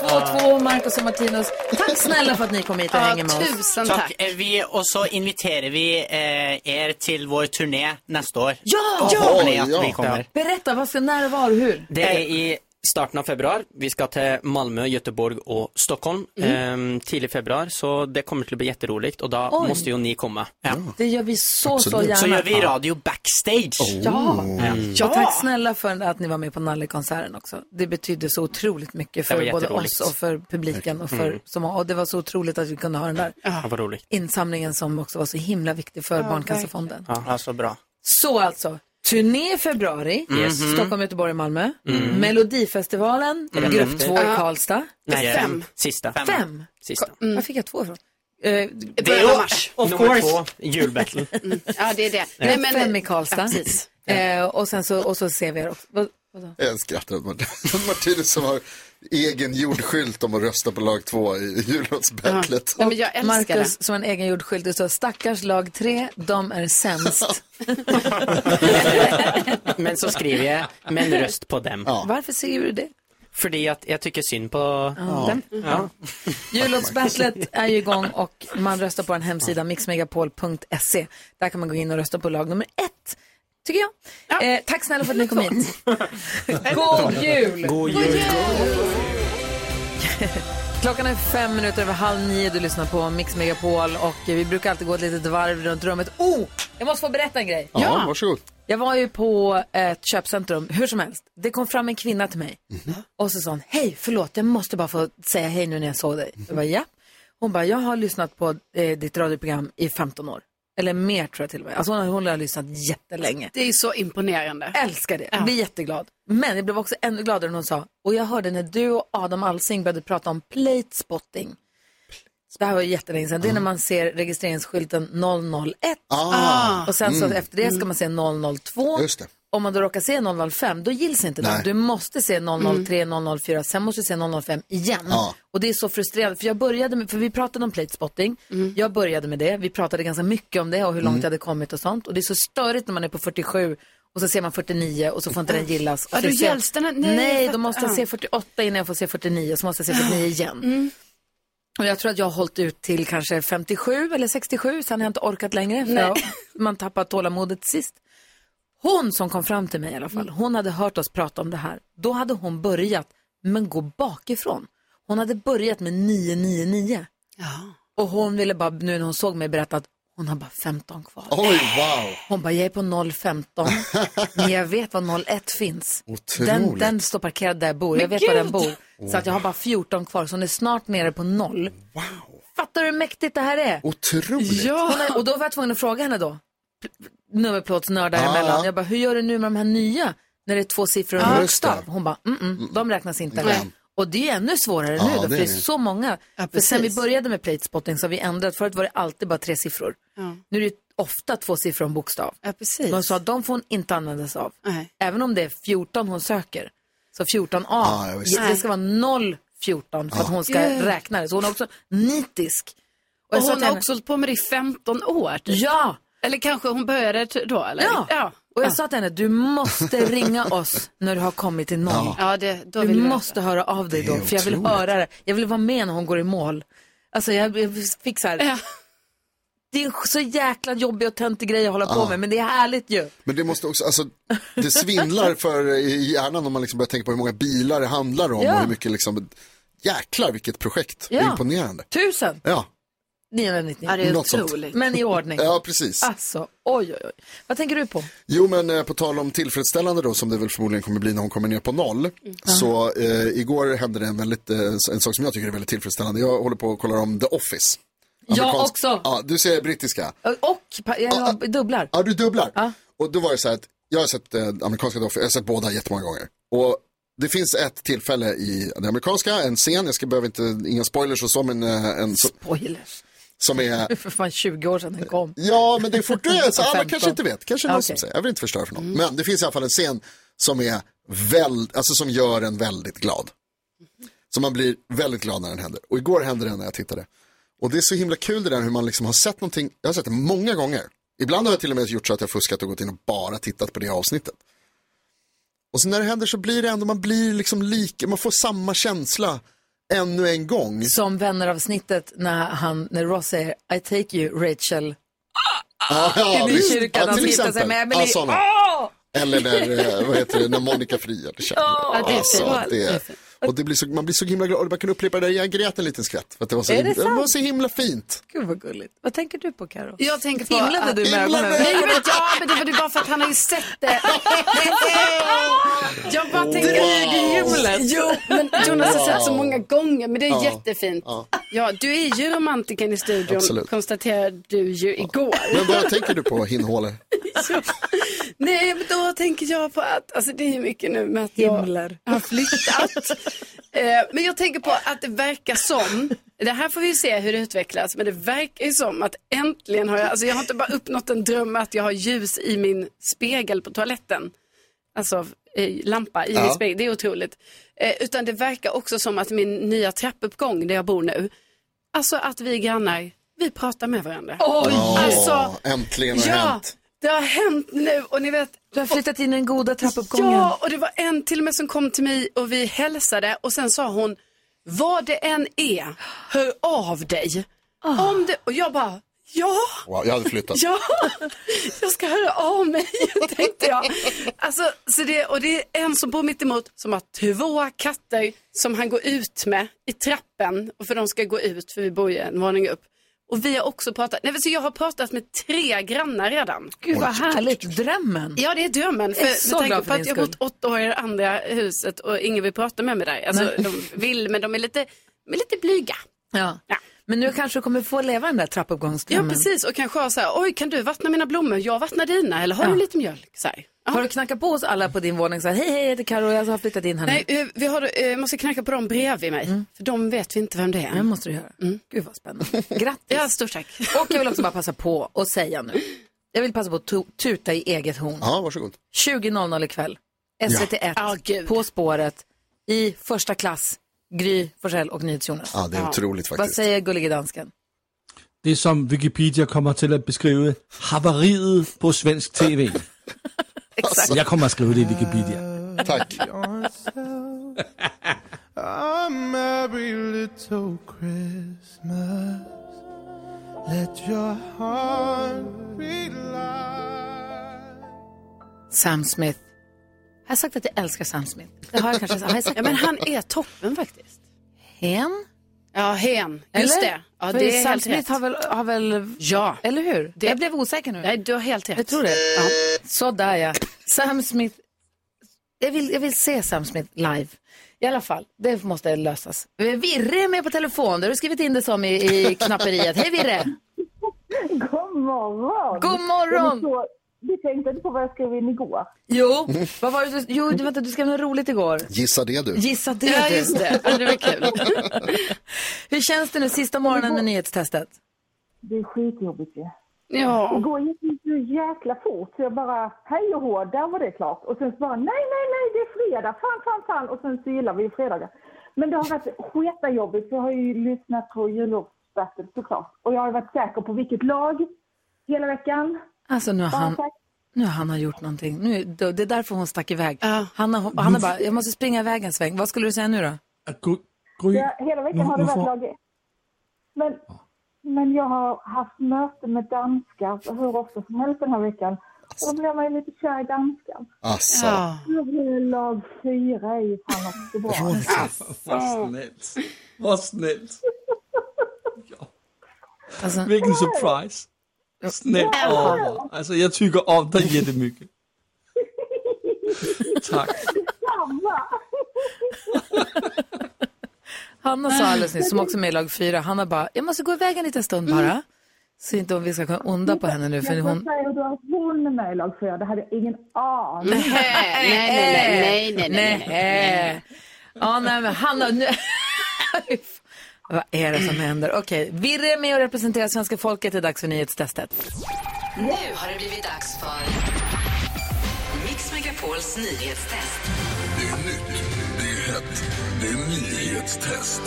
S1: 2-2, Marcus och Martinus. Tack snälla för att ni kom hit och hänger med oss.
S16: Eh, Vi, och så inviterar vi eh, er till vår turné nästa år.
S1: Ja!
S16: Jag hoppas ni att vi kommer.
S1: Berätta, vad ska, när, var och hur?
S17: Det är i starten av februar. Vi ska till Malmö, Göteborg och Stockholm
S1: Mm.
S17: ehm, tidig februar. Så det kommer till att bli jätteroligt och då
S1: Oj.
S17: måste ju ni komma. Mm. Ja.
S1: Det gör vi så, så gärna.
S17: Så gör vi radio backstage.
S1: Ja.
S17: Mm.
S1: Och tack snälla för att ni var med på Nallekonserten också. Det betydde så otroligt mycket
S17: Det
S1: för
S17: var
S1: både
S17: jätteroligt.
S1: oss och för publiken. Och, för,
S17: Mm.
S1: så många. och det var så otroligt att vi kunde ha den där
S17: Ja, vad roligt.
S1: insamlingen som också var så himla viktig för Barncancerfonden.
S16: Ja, alltså bra.
S1: Så alltså, turné i februari, Mm-hmm.
S16: Yes.
S1: Stockholm, Göteborg, Malmö.
S17: Mm.
S1: Melodifestivalen,
S17: Mm.
S1: grupp två i
S17: Ja.
S1: Karlstad.
S17: Nej, Sista.
S1: Fem?
S17: Sista.
S2: Mm.
S1: Var fick jag två ifrån? Eh,
S17: Det är ju- Of course. Nummer två, julbattle.
S2: Ja, det är det.
S1: Nej, men... Fem i Karlstad. Eh, och sen så, och så ser vi er också. Vad- vadå?
S3: Jag skrattar åt Martin- Martinus som har egen jordskylt om att rösta på lag två i jullåtsbattlet.
S1: Marcus som en egen jordskylt, det står stackars lag 3, de är sämst.
S17: Men så skriver jag, men röst på dem.
S1: Varför säger du det?
S17: Fordi at jeg tykker synd på
S1: Ja.
S17: dem. Ja.
S1: Jullåtsbattlet är ju igång och man röstar på en hemsida, mixmegapol.se. Där kan man gå in och rösta på lag nummer ett, tycker jag. Eh, tack snälla för att ni kom hit. God jul!
S11: God jul!
S1: Klockan är fem minuter över halv nio, du lyssnar på Mix Megapol och vi brukar alltid gå ett litet varv runt rummet. Oh, jag måste få berätta en grej.
S3: Ja, varsågod.
S1: Jag var ju på eh, ett köpcentrum, hur som helst. Det kom fram en kvinna till mig
S3: Mhm.
S1: och så sa hon, hej, förlåt, jag måste bara få säga hej nu när jag såg dig. Jag bara, ja. Hon bara, jag har lyssnat på eh, ditt radioprogram i 15 år. Eller mer tror jag till och med. Alltså hon, hon har lyssnat jättelänge.
S2: Det är så imponerande.
S1: Älskar det, jag blir jätteglad. Men jag blev också ännu gladare när hon sa, och jag hörde när du och Adam Alsing började prata om plate spotting. Det här var ju jättelänge sedan. Det är när man ser registreringsskylten 001.
S3: Ah.
S1: och sen så
S3: Mm.
S1: efter det ska man se 002.
S3: Just det.
S1: Om man då råkar se 005, då gills inte den.
S3: Nej.
S1: Du måste se 003,
S2: Mm.
S1: 004, sen måste du se 005 igen.
S3: Ja.
S1: Och det är så frustrerande, för jag började med, för vi pratade om plate spotting. Jag började med det, vi pratade ganska mycket om det och hur långt
S2: Mm.
S1: jag hade kommit och sånt. Och det är så störigt när man är på 47 och så ser man 49 och så får inte den gillas. Och
S2: Ja,
S1: så
S2: då
S1: ser jag-
S2: gälls den här- nej,
S1: Nej,
S2: jag
S1: då
S2: fattar.
S1: måste jag
S2: Ja.
S1: se 48 innan jag får se 49, så måste jag se 49 igen.
S11: Mm.
S1: Och jag tror att jag har hållit ut till kanske 57 eller 67, sen har jag inte orkat längre. För
S2: Nej.
S1: jag, man tappar tålamodet sist. Hon som kom fram till mig i alla fall, hon hade hört oss prata om det här. Då hade hon börjat, men gå bakifrån. Hon hade börjat med 999. Och hon ville bara, nu när hon såg mig, berätta att hon har bara 15 kvar.
S3: Oj, wow.
S1: Hon bara, jag är på 015, men jag vet var 01 finns.
S3: Otroligt.
S1: Den, den står parkerad där jag bor, jag
S2: Men
S1: vet var den
S2: gud!
S1: bor. Så att jag har bara 14 kvar, så hon är snart nere på noll. Wow. Fattar du hur mäktigt det här är?
S3: Otroligt.
S1: Hon har- och då var jag tvungen att fråga henne då, pl- nummerplåtsnördar
S3: Ja.
S1: emellan. Jag bara, hur gör du nu med de här nya? När det är två siffror och en
S2: Ja.
S1: bokstav. Hon bara, mm, mm, de räknas inte.
S2: Nej.
S1: Och det är ännu svårare
S2: Ja,
S1: nu då,
S2: det
S1: för
S2: är
S1: det är
S2: det.
S1: så många. för
S2: precis.
S1: sen vi började med plate spotting så har vi ändrat, förut var det alltid bara tre siffror. Nu är det ofta två siffror och en bokstav.
S2: Ja, precis.
S1: De sa att de får hon inte använda sig av.
S2: Nej.
S1: Även om det är 14 hon söker. Så 14A,
S2: Ja, ja, visst.
S1: det ska vara 014 för att
S2: Ja.
S1: hon ska
S2: Yeah.
S1: räkna det. Så hon är också nitisk.
S2: Och
S1: jag sa
S2: hon
S1: till
S2: har
S1: henne-
S2: också hållit på med det i 15 år. Typ.
S1: Ja.
S2: Eller kanske hon började t- då eller?
S1: Ja. Och jag sa till henne, du måste ringa oss när du har kommit till noll.
S2: Ja. Ja, det- då
S1: du
S2: vill vi
S1: måste höra av dig
S2: Det
S1: då,
S2: är
S1: för jag vill
S2: otroligt.
S1: höra det. Jag vill vara med när hon går i mål. Alltså jag jag fick så här, det är en så jäkla jobbig och töntig grej att hålla på
S3: Ja.
S1: med, men det är härligt ju.
S3: Men det måste också, alltså, det svindlar för i hjärnan om man liksom börjar tänka på hur många bilar det handlar om
S1: Ja.
S3: och hur mycket liksom, jäklar vilket projekt,
S1: Ja.
S3: imponerande.
S1: Tusen
S3: Ja,
S1: 999.
S3: Ja, det är Något sånt. otroligt.
S1: Men i ordning.
S3: Ja, precis.
S1: Alltså, oj, oj, oj. Vad tänker du på?
S3: jo men eh, på tal om tillfredsställande då som det väl förmodligen kommer bli när hon kommer ner på noll. Så eh, igår hände det en, väldigt, eh, en sak som jag tycker är väldigt tillfredsställande. Jag håller på och kollar om The Office.
S1: Jag
S3: Amerikansk-
S1: också.
S3: Ja, du ser brittiska.
S1: Och, pa- jag har dubblar.
S3: Ja, du dubblar. Och då var det så här att jag har sett eh, amerikanska Doffer, jag har sett båda jättemånga gånger. Och det finns ett tillfälle i den amerikanska, en scen, jag ska behöver inte, inga spoilers och så, men eh, en som,
S1: Spoilers.
S3: som
S1: Det är
S3: är,
S1: för fan 20 år sedan den kom.
S3: ja men det är fortfarande, så alla
S1: 15.
S3: kanske inte vet, kanske någon
S1: Okej. Mm.
S3: som säger, jag vill inte förstöra för någon. Men det finns i alla fall en scen som är väl, alltså som gör en väldigt glad. Så man blir väldigt glad när den händer. Och igår hände den när jag tittade. Och det är så himla kul det där hur man liksom har sett någonting, jag har sett det många gånger. Ibland har jag till och med gjort så att jag fuskat och gått in och bara tittat på det avsnittet. Och så när det händer så blir det ändå, man blir liksom lik, man får samma känsla ännu en gång.
S1: Som vänner av snittet när, han, när Ross säger I take you Rachel.
S3: Ja, ja,
S1: Inne i
S3: visst.
S1: kyrkan,
S3: ja,
S1: han
S3: till
S1: hittar sig
S3: exempel.
S1: med Emily.
S3: Ja, såna.
S1: Åh!
S3: Eller när, eh, vad heter det, när Monica friar till kärlek.
S1: Ja, det är fint.
S3: det är- och det blir så, man blir så himla glad, och man kan upprepa det där, jag grät en liten skvätt. För att det var så,
S1: Är det
S3: himla, det var
S1: sant?
S3: så himla fint.
S1: Gud vad gulligt. Vad tänker du på Karo?
S2: Jag tänker på...
S1: Himlade du med
S2: Himlade.
S1: ögonen?
S2: Nej, men, ja, men det var ju bara för att han har ju sett det. Jag bara tänker...
S1: Dryghimlet.
S2: Jo, men Jonas har sett så
S3: Wow.
S2: många gånger, men det är
S3: Ja.
S2: jättefint.
S3: Ja.
S2: Ja, du är ju romantiken i studion,
S3: Absolut.
S2: konstaterade du ju igår.
S3: Men vad tänker du på, Hinnhåle?
S2: Nej, men då tänker jag på att, alltså det är ju mycket nu med att jag
S1: Himlar.
S2: har flyttat. eh, men jag tänker på att det verkar som, det här får vi ju se hur det utvecklas, men det verkar ju som att äntligen har jag, alltså jag har inte bara uppnått en dröm att jag har ljus i min spegel på toaletten. Alltså eh, lampa i
S12: Ja.
S2: min spegel, det är otroligt. Eh, utan det verkar också som att min nya trappuppgång där jag bor nu, alltså att vi grannar, vi pratar med varandra.
S3: Åh,
S2: Alltså,
S3: äntligen har det
S2: Ja,
S3: hänt.
S2: det har hänt nu och ni vet
S1: Du har flyttat in i den goda trappuppgången.
S2: Ja, och det var en till och med som kom till mig och vi hälsade och sen sa hon, vad det än är, hör av dig.
S1: Ah.
S2: Om det, och jag bara, ja.
S3: Wow, jag hade flyttat.
S2: Ja, jag ska höra av mig, tänkte jag. Alltså, så det, och det är en som bor mitt emot som har två katter som han går ut med i trappen, och för de ska gå ut, för vi bor ju en våning upp. Och vi har också pratat, nej, men så jag har pratat med tre grannar redan.
S1: Gud vad härligt, drömmen.
S2: Ja, det är drömmen. För
S1: Jag är så
S2: med tanke
S1: glad
S2: på
S1: för
S2: att
S1: din
S2: jag har bott åtta år i det andra huset och ingen vill prata med mig där. Alltså,
S1: Nej.
S2: de vill, men de är lite, de är lite blyga.
S1: Ja. Men nu kanske du kommer få leva den där
S2: Ja,
S1: trappuppgångsdrömmen.
S2: precis. Och kanske ha så här, oj, kan du vattna mina blommor? Jag vattnar dina. Eller har du lite mjölk? Så här.
S1: Har du knackat på oss alla på din våning och sagt hej, hej, jag heter Karo, jag har flyttat in här
S2: Nej,
S1: nu. Mm.
S2: eh, vi har, eh, måste knacka på dem bredvid mig. För de vet vi inte vem det är. Mm. Det
S1: måste du göra. Gud vad spännande. Grattis.
S2: Ja, stort tack.
S1: Och jag vill också bara passa på och säga nu. Jag vill passa på att tu- tuta i eget horn.
S3: Ja, varsågod.
S1: 20.00 ikväll. SVT1. på spåret. I första klass. Gry Forssell och NyhetsJonas.
S3: Ja, det är otroligt
S1: Vad
S3: faktiskt.
S1: säger gullige dansken?
S10: Det som Wikipedia kommer till att beskriva haveriet på svensk TV.
S1: Exakt.
S10: Jag kommer att skriva det i Wikipedia.
S3: Tack.
S5: I'm every little Christmas. Let your heart be
S1: Sam Smith. Har jag sagt att jag älskar Sam Smith? Det har jag kanske har jag sagt.
S2: Ja, men han är toppen faktiskt.
S1: Hen?
S2: Ja, hen. Just
S1: Eller?
S2: det. Ja,
S1: För
S2: det är
S1: Sam
S2: helt
S1: Smith
S2: rätt.
S1: har väl, har väl...
S2: Ja.
S1: Eller hur? Jag blev osäker nu.
S2: Nej, du har helt rätt.
S1: Jag tror det. Ja. Sådär ja. Sam Smith. Jag vill, jag vill se Sam Smith live. I alla fall, det måste lösas. Virre är med på telefon. Det har du skrivit in det som i, i knapperiet. Hej Virre!
S20: God morgon!
S1: God morgon!
S20: Det är så- Du tänkte inte på vad jag skrev in igår?
S1: Jo, vad var det du, jo, du- vänta, du skrev något roligt igår.
S3: Gissa det du.
S1: Gissa det
S20: Ja,
S1: du.
S20: just det. Ja, det var
S1: kul. Hur känns det nu sista morgonen med nyhetstestet?
S20: Det är skitjobbigt ju.
S2: Ja.
S20: Det går ju så jäkla fort så jag bara hej och hå, där var det klart. Och sen så bara nej, nej, nej, det är fredag, fan, fan, fan. Och sen så gillar vi ju fredagar. Men det har varit sketa jobbigt för jag har ju lyssnat på jullovsbattle såklart. Och jag har varit säker på vilket lag hela veckan.
S1: Alltså nu har
S20: Ja,
S1: han,
S20: tack.
S1: nu har han har gjort någonting. Nu, det det är därför hon stack iväg. Han, har, han har bara, jag måste springa iväg en sväng. Vad skulle du säga nu då?
S20: Ja, hela veckan har det varit lag ett. men, men jag har haft möte med danskar hur ofta som helst den här veckan. Och då blir man ju lite kär i danskar.
S3: Asså.
S20: Jag blir lag fyra i Fan också bra. Alltså,
S10: Vad snällt. Vad snällt.
S1: Alltså,
S10: Vilken surprise. Snällt Oliver. Alltså jag tycker om dig jättemycket. Tack.
S20: Samma!
S1: Hanna sa alldeles nyss, som också är med i lag fyra, Hanna bara, jag måste gå iväg en liten stund bara. Så inte om vi ska kunna onda på henne nu, för
S20: Jag
S1: hon...
S20: får säga då att hon är med i lag fyra, det hade jag ingen aning om.
S1: nej, nej, nej, nej. Ja, nej, men Hanna, nu... Vad är det som händer? Okej, Virre är med och representerar svenska folket. Det är dags för nyhetstestet.
S11: Nu har det blivit dags för Mix Megapols nyhetstest.
S5: Det är nytt, det är hett, det är nyhetstest.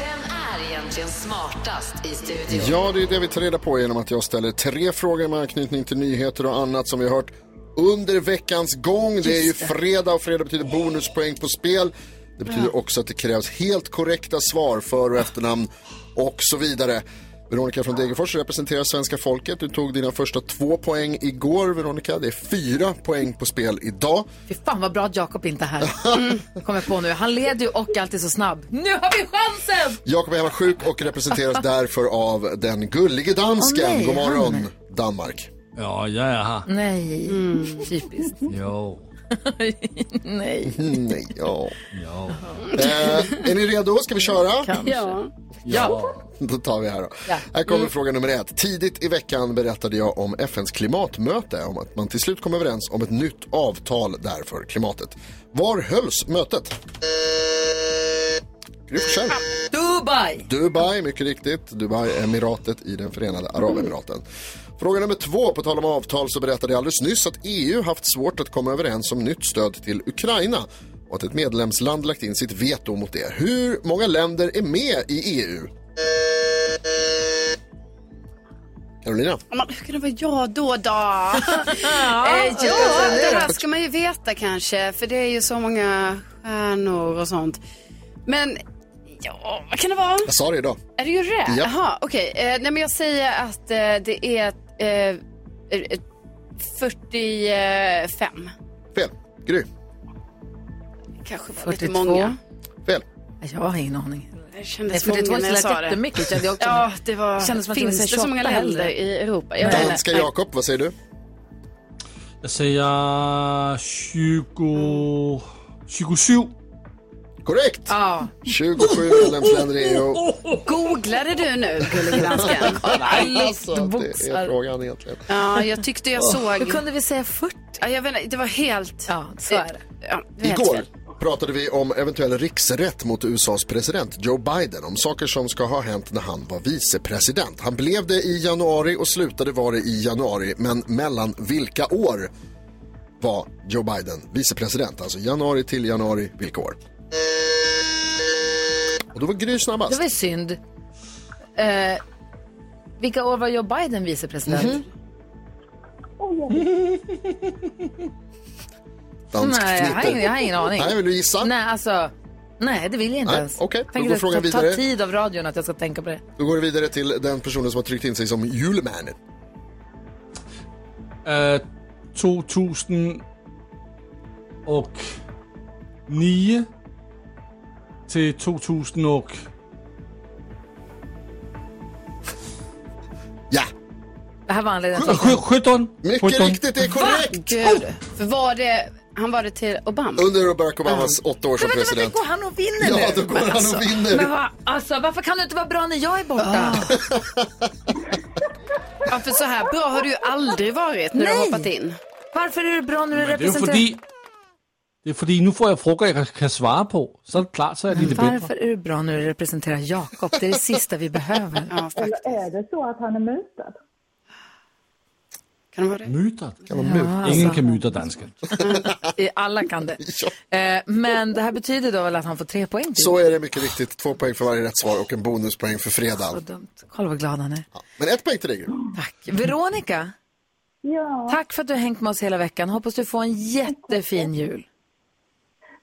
S11: Vem är egentligen smartast i studion?
S3: Ja, det är det vi tar reda på genom att jag ställer tre frågor med anknytning till nyheter och annat som vi har hört under veckans gång. Det är ju
S21: Just det.
S3: fredag och fredag betyder bonuspoäng på spel. Det betyder också att det krävs helt korrekta svar, för och efternamn och så vidare. Veronica från Degerfors representerar svenska folket. Du tog dina första två poäng igår, Veronica. Det är fyra poäng på spel idag.
S1: Fy fan vad bra att Jakob inte är här.
S3: Mm.
S1: Kommer på nu. Han leder ju och alltid så snabb. Nu har vi chansen!
S3: Jakob är hemma sjuk och representeras därför av den gullige dansken.
S1: Åh, nej,
S3: God morgon,
S1: han.
S3: Danmark.
S10: Ja, jag är här.
S1: Nej,
S3: Mm.
S1: typiskt.
S10: Jo.
S1: Nej.
S3: Nej, ja.
S10: ja.
S3: Eh, är ni redo? Ska vi köra?
S2: Ja.
S3: Ja. Då tar vi här då.
S2: Ja.
S3: Här kommer
S2: Mm.
S3: fråga nummer ett. Tidigt i veckan berättade jag om FNs klimatmöte, om att man till slut kom överens om ett nytt avtal där för klimatet. Var hölls mötet? Gry Forssell.
S1: Dubai!
S3: Dubai, mycket riktigt. Dubai, emiratet i den förenade arabemiraten. Fråga nummer två. På tal om avtal så berättade jag alldeles nyss att EU haft svårt att komma överens om nytt stöd till Ukraina och att ett medlemsland lagt in sitt veto mot det. Hur E många länder är med i EU? Carolina.
S2: Men hur kan det vara jag då då?
S1: Ja,
S2: eh, ja,
S1: eller hur?
S2: det här ska man ju veta kanske, för det är ju så många stjärnor och sånt. Men ja, vad kan det vara?
S3: Jag sa det idag.
S2: Är det ju det?
S3: Ja.
S2: Jaha, okej. Eh, nej, men jag säger att eh, det är eh, eh, 45.
S3: Fel. Gry.
S2: Kanske var lite
S1: 42.
S2: många.
S3: Fel.
S1: Jag har ingen aning.
S2: Det
S1: Nej,
S2: kändes
S1: 42
S2: många när jag
S1: lät
S2: sa det.
S1: jättemycket, kände jag också.
S2: Ja, det var...
S1: Kändes som att det
S2: Finns
S1: var
S2: det
S1: så
S2: så många
S1: 28
S2: länder
S1: heller.
S2: i Europa? Jag vet inte.
S3: Danska Jakob, vad säger du?
S10: Jag säger 20... 27.
S3: Korrekt!
S2: Ja.
S3: 27 medlemsländer i E EU.
S2: Googlade du nu, gullegransken?
S3: Alltså, det är frågan egentligen.
S2: Ja, jag tyckte jag såg...
S1: Hur kunde vi säga 40?
S2: Ja, jag vet inte, det var helt...
S1: Ja, så är det.
S2: Ja, det var helt
S3: Igår
S2: fel.
S3: pratade vi om eventuell riksrätt mot USAs president Joe Biden om saker som ska ha hänt när han var vicepresident. Han blev det i januari och slutade vara det i januari, men mellan vilka år var Joe Biden vicepresident? Alltså januari till januari, vilka år? Och då var Gry snabbast.
S1: Det var ju synd. Eh, vilka år var Joe Biden vicepresident?
S3: Mhm. Dansk
S1: Nej, jag har
S3: fnitter.
S1: ingen, jag har ingen aning.
S3: Nej, vill du gissa?
S1: Nej, alltså. Nej, det vill jag inte
S3: Nej,
S1: ens.
S3: okej, då
S1: Tänk
S3: går
S1: att
S3: frågan
S1: det tar
S3: vidare.
S1: tid av radion att jag ska tänka på det.
S3: Då går vi vidare till den personen som har tryckt in sig som julmannen.
S10: Uh, 2000 och 9 till 2000 och...
S3: Ja!
S1: Det här var anledningen till att jag
S10: 17!
S3: Mycket riktigt, det är korrekt!
S2: Gud, för var det... Han var det till Obama?
S3: Under Barack Obamas åtta år som president.
S1: Går han och vinner nu?
S3: Ja, då går han och
S1: Men
S3: vinner. Ah.
S1: va, alltså, varför kan du inte vara bra när jag är borta?
S2: Ja, för så här bra har du ju aldrig varit när du har
S1: Nej.
S2: hoppat in.
S1: Varför är du bra när
S10: Det
S1: du
S10: är jo
S1: representerar...
S10: fordi... Det er fordi, nu får jeg frågor, øh, jeg kan svare på. Så er det klart, så er jeg lidt bedre.
S1: Varför är du bra när du representerar Jakob? Det är det sista vi behöver.
S20: Eller är det så att han är mutad?
S2: Kan det vara det?
S10: Myter. Kan
S3: man myter?
S10: Ingen kan myter danske.
S1: I- Alla kan det. Eh, Men det här betyder då väl att han får tre poäng till?
S3: Så är det mycket riktigt. Två poäng för varje rätt svar och en bonuspoäng för fredag.
S1: Kolla vad glad han är.
S3: Men ett poäng till dig Gry.
S1: Veronica,
S20: Ja,
S1: tack för att du har hängt med oss hela veckan. Hoppas du får en jättefin jul.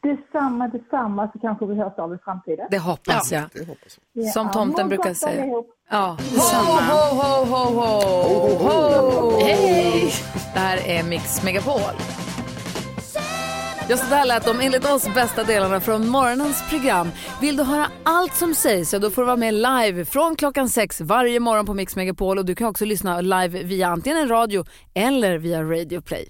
S20: detsamma, detsamma så kanske vi hörs av i framtiden.
S1: Det hoppas
S20: Ja.
S1: jag.
S20: Ja,
S1: Som tomten
S20: må
S1: brukar
S20: gott
S1: säga.
S20: allihop.
S1: Ja. Ho, ho, ho, ho, ho, ho. Hej! Det här är Mix Megapol. Just så där lät de enligt oss bästa delarna från morgonens program. Vill du höra allt som sägs så då får du vara med live från klockan sex varje morgon på Mix Megapol och du kan också lyssna live via antingen en radio eller via Radio Play.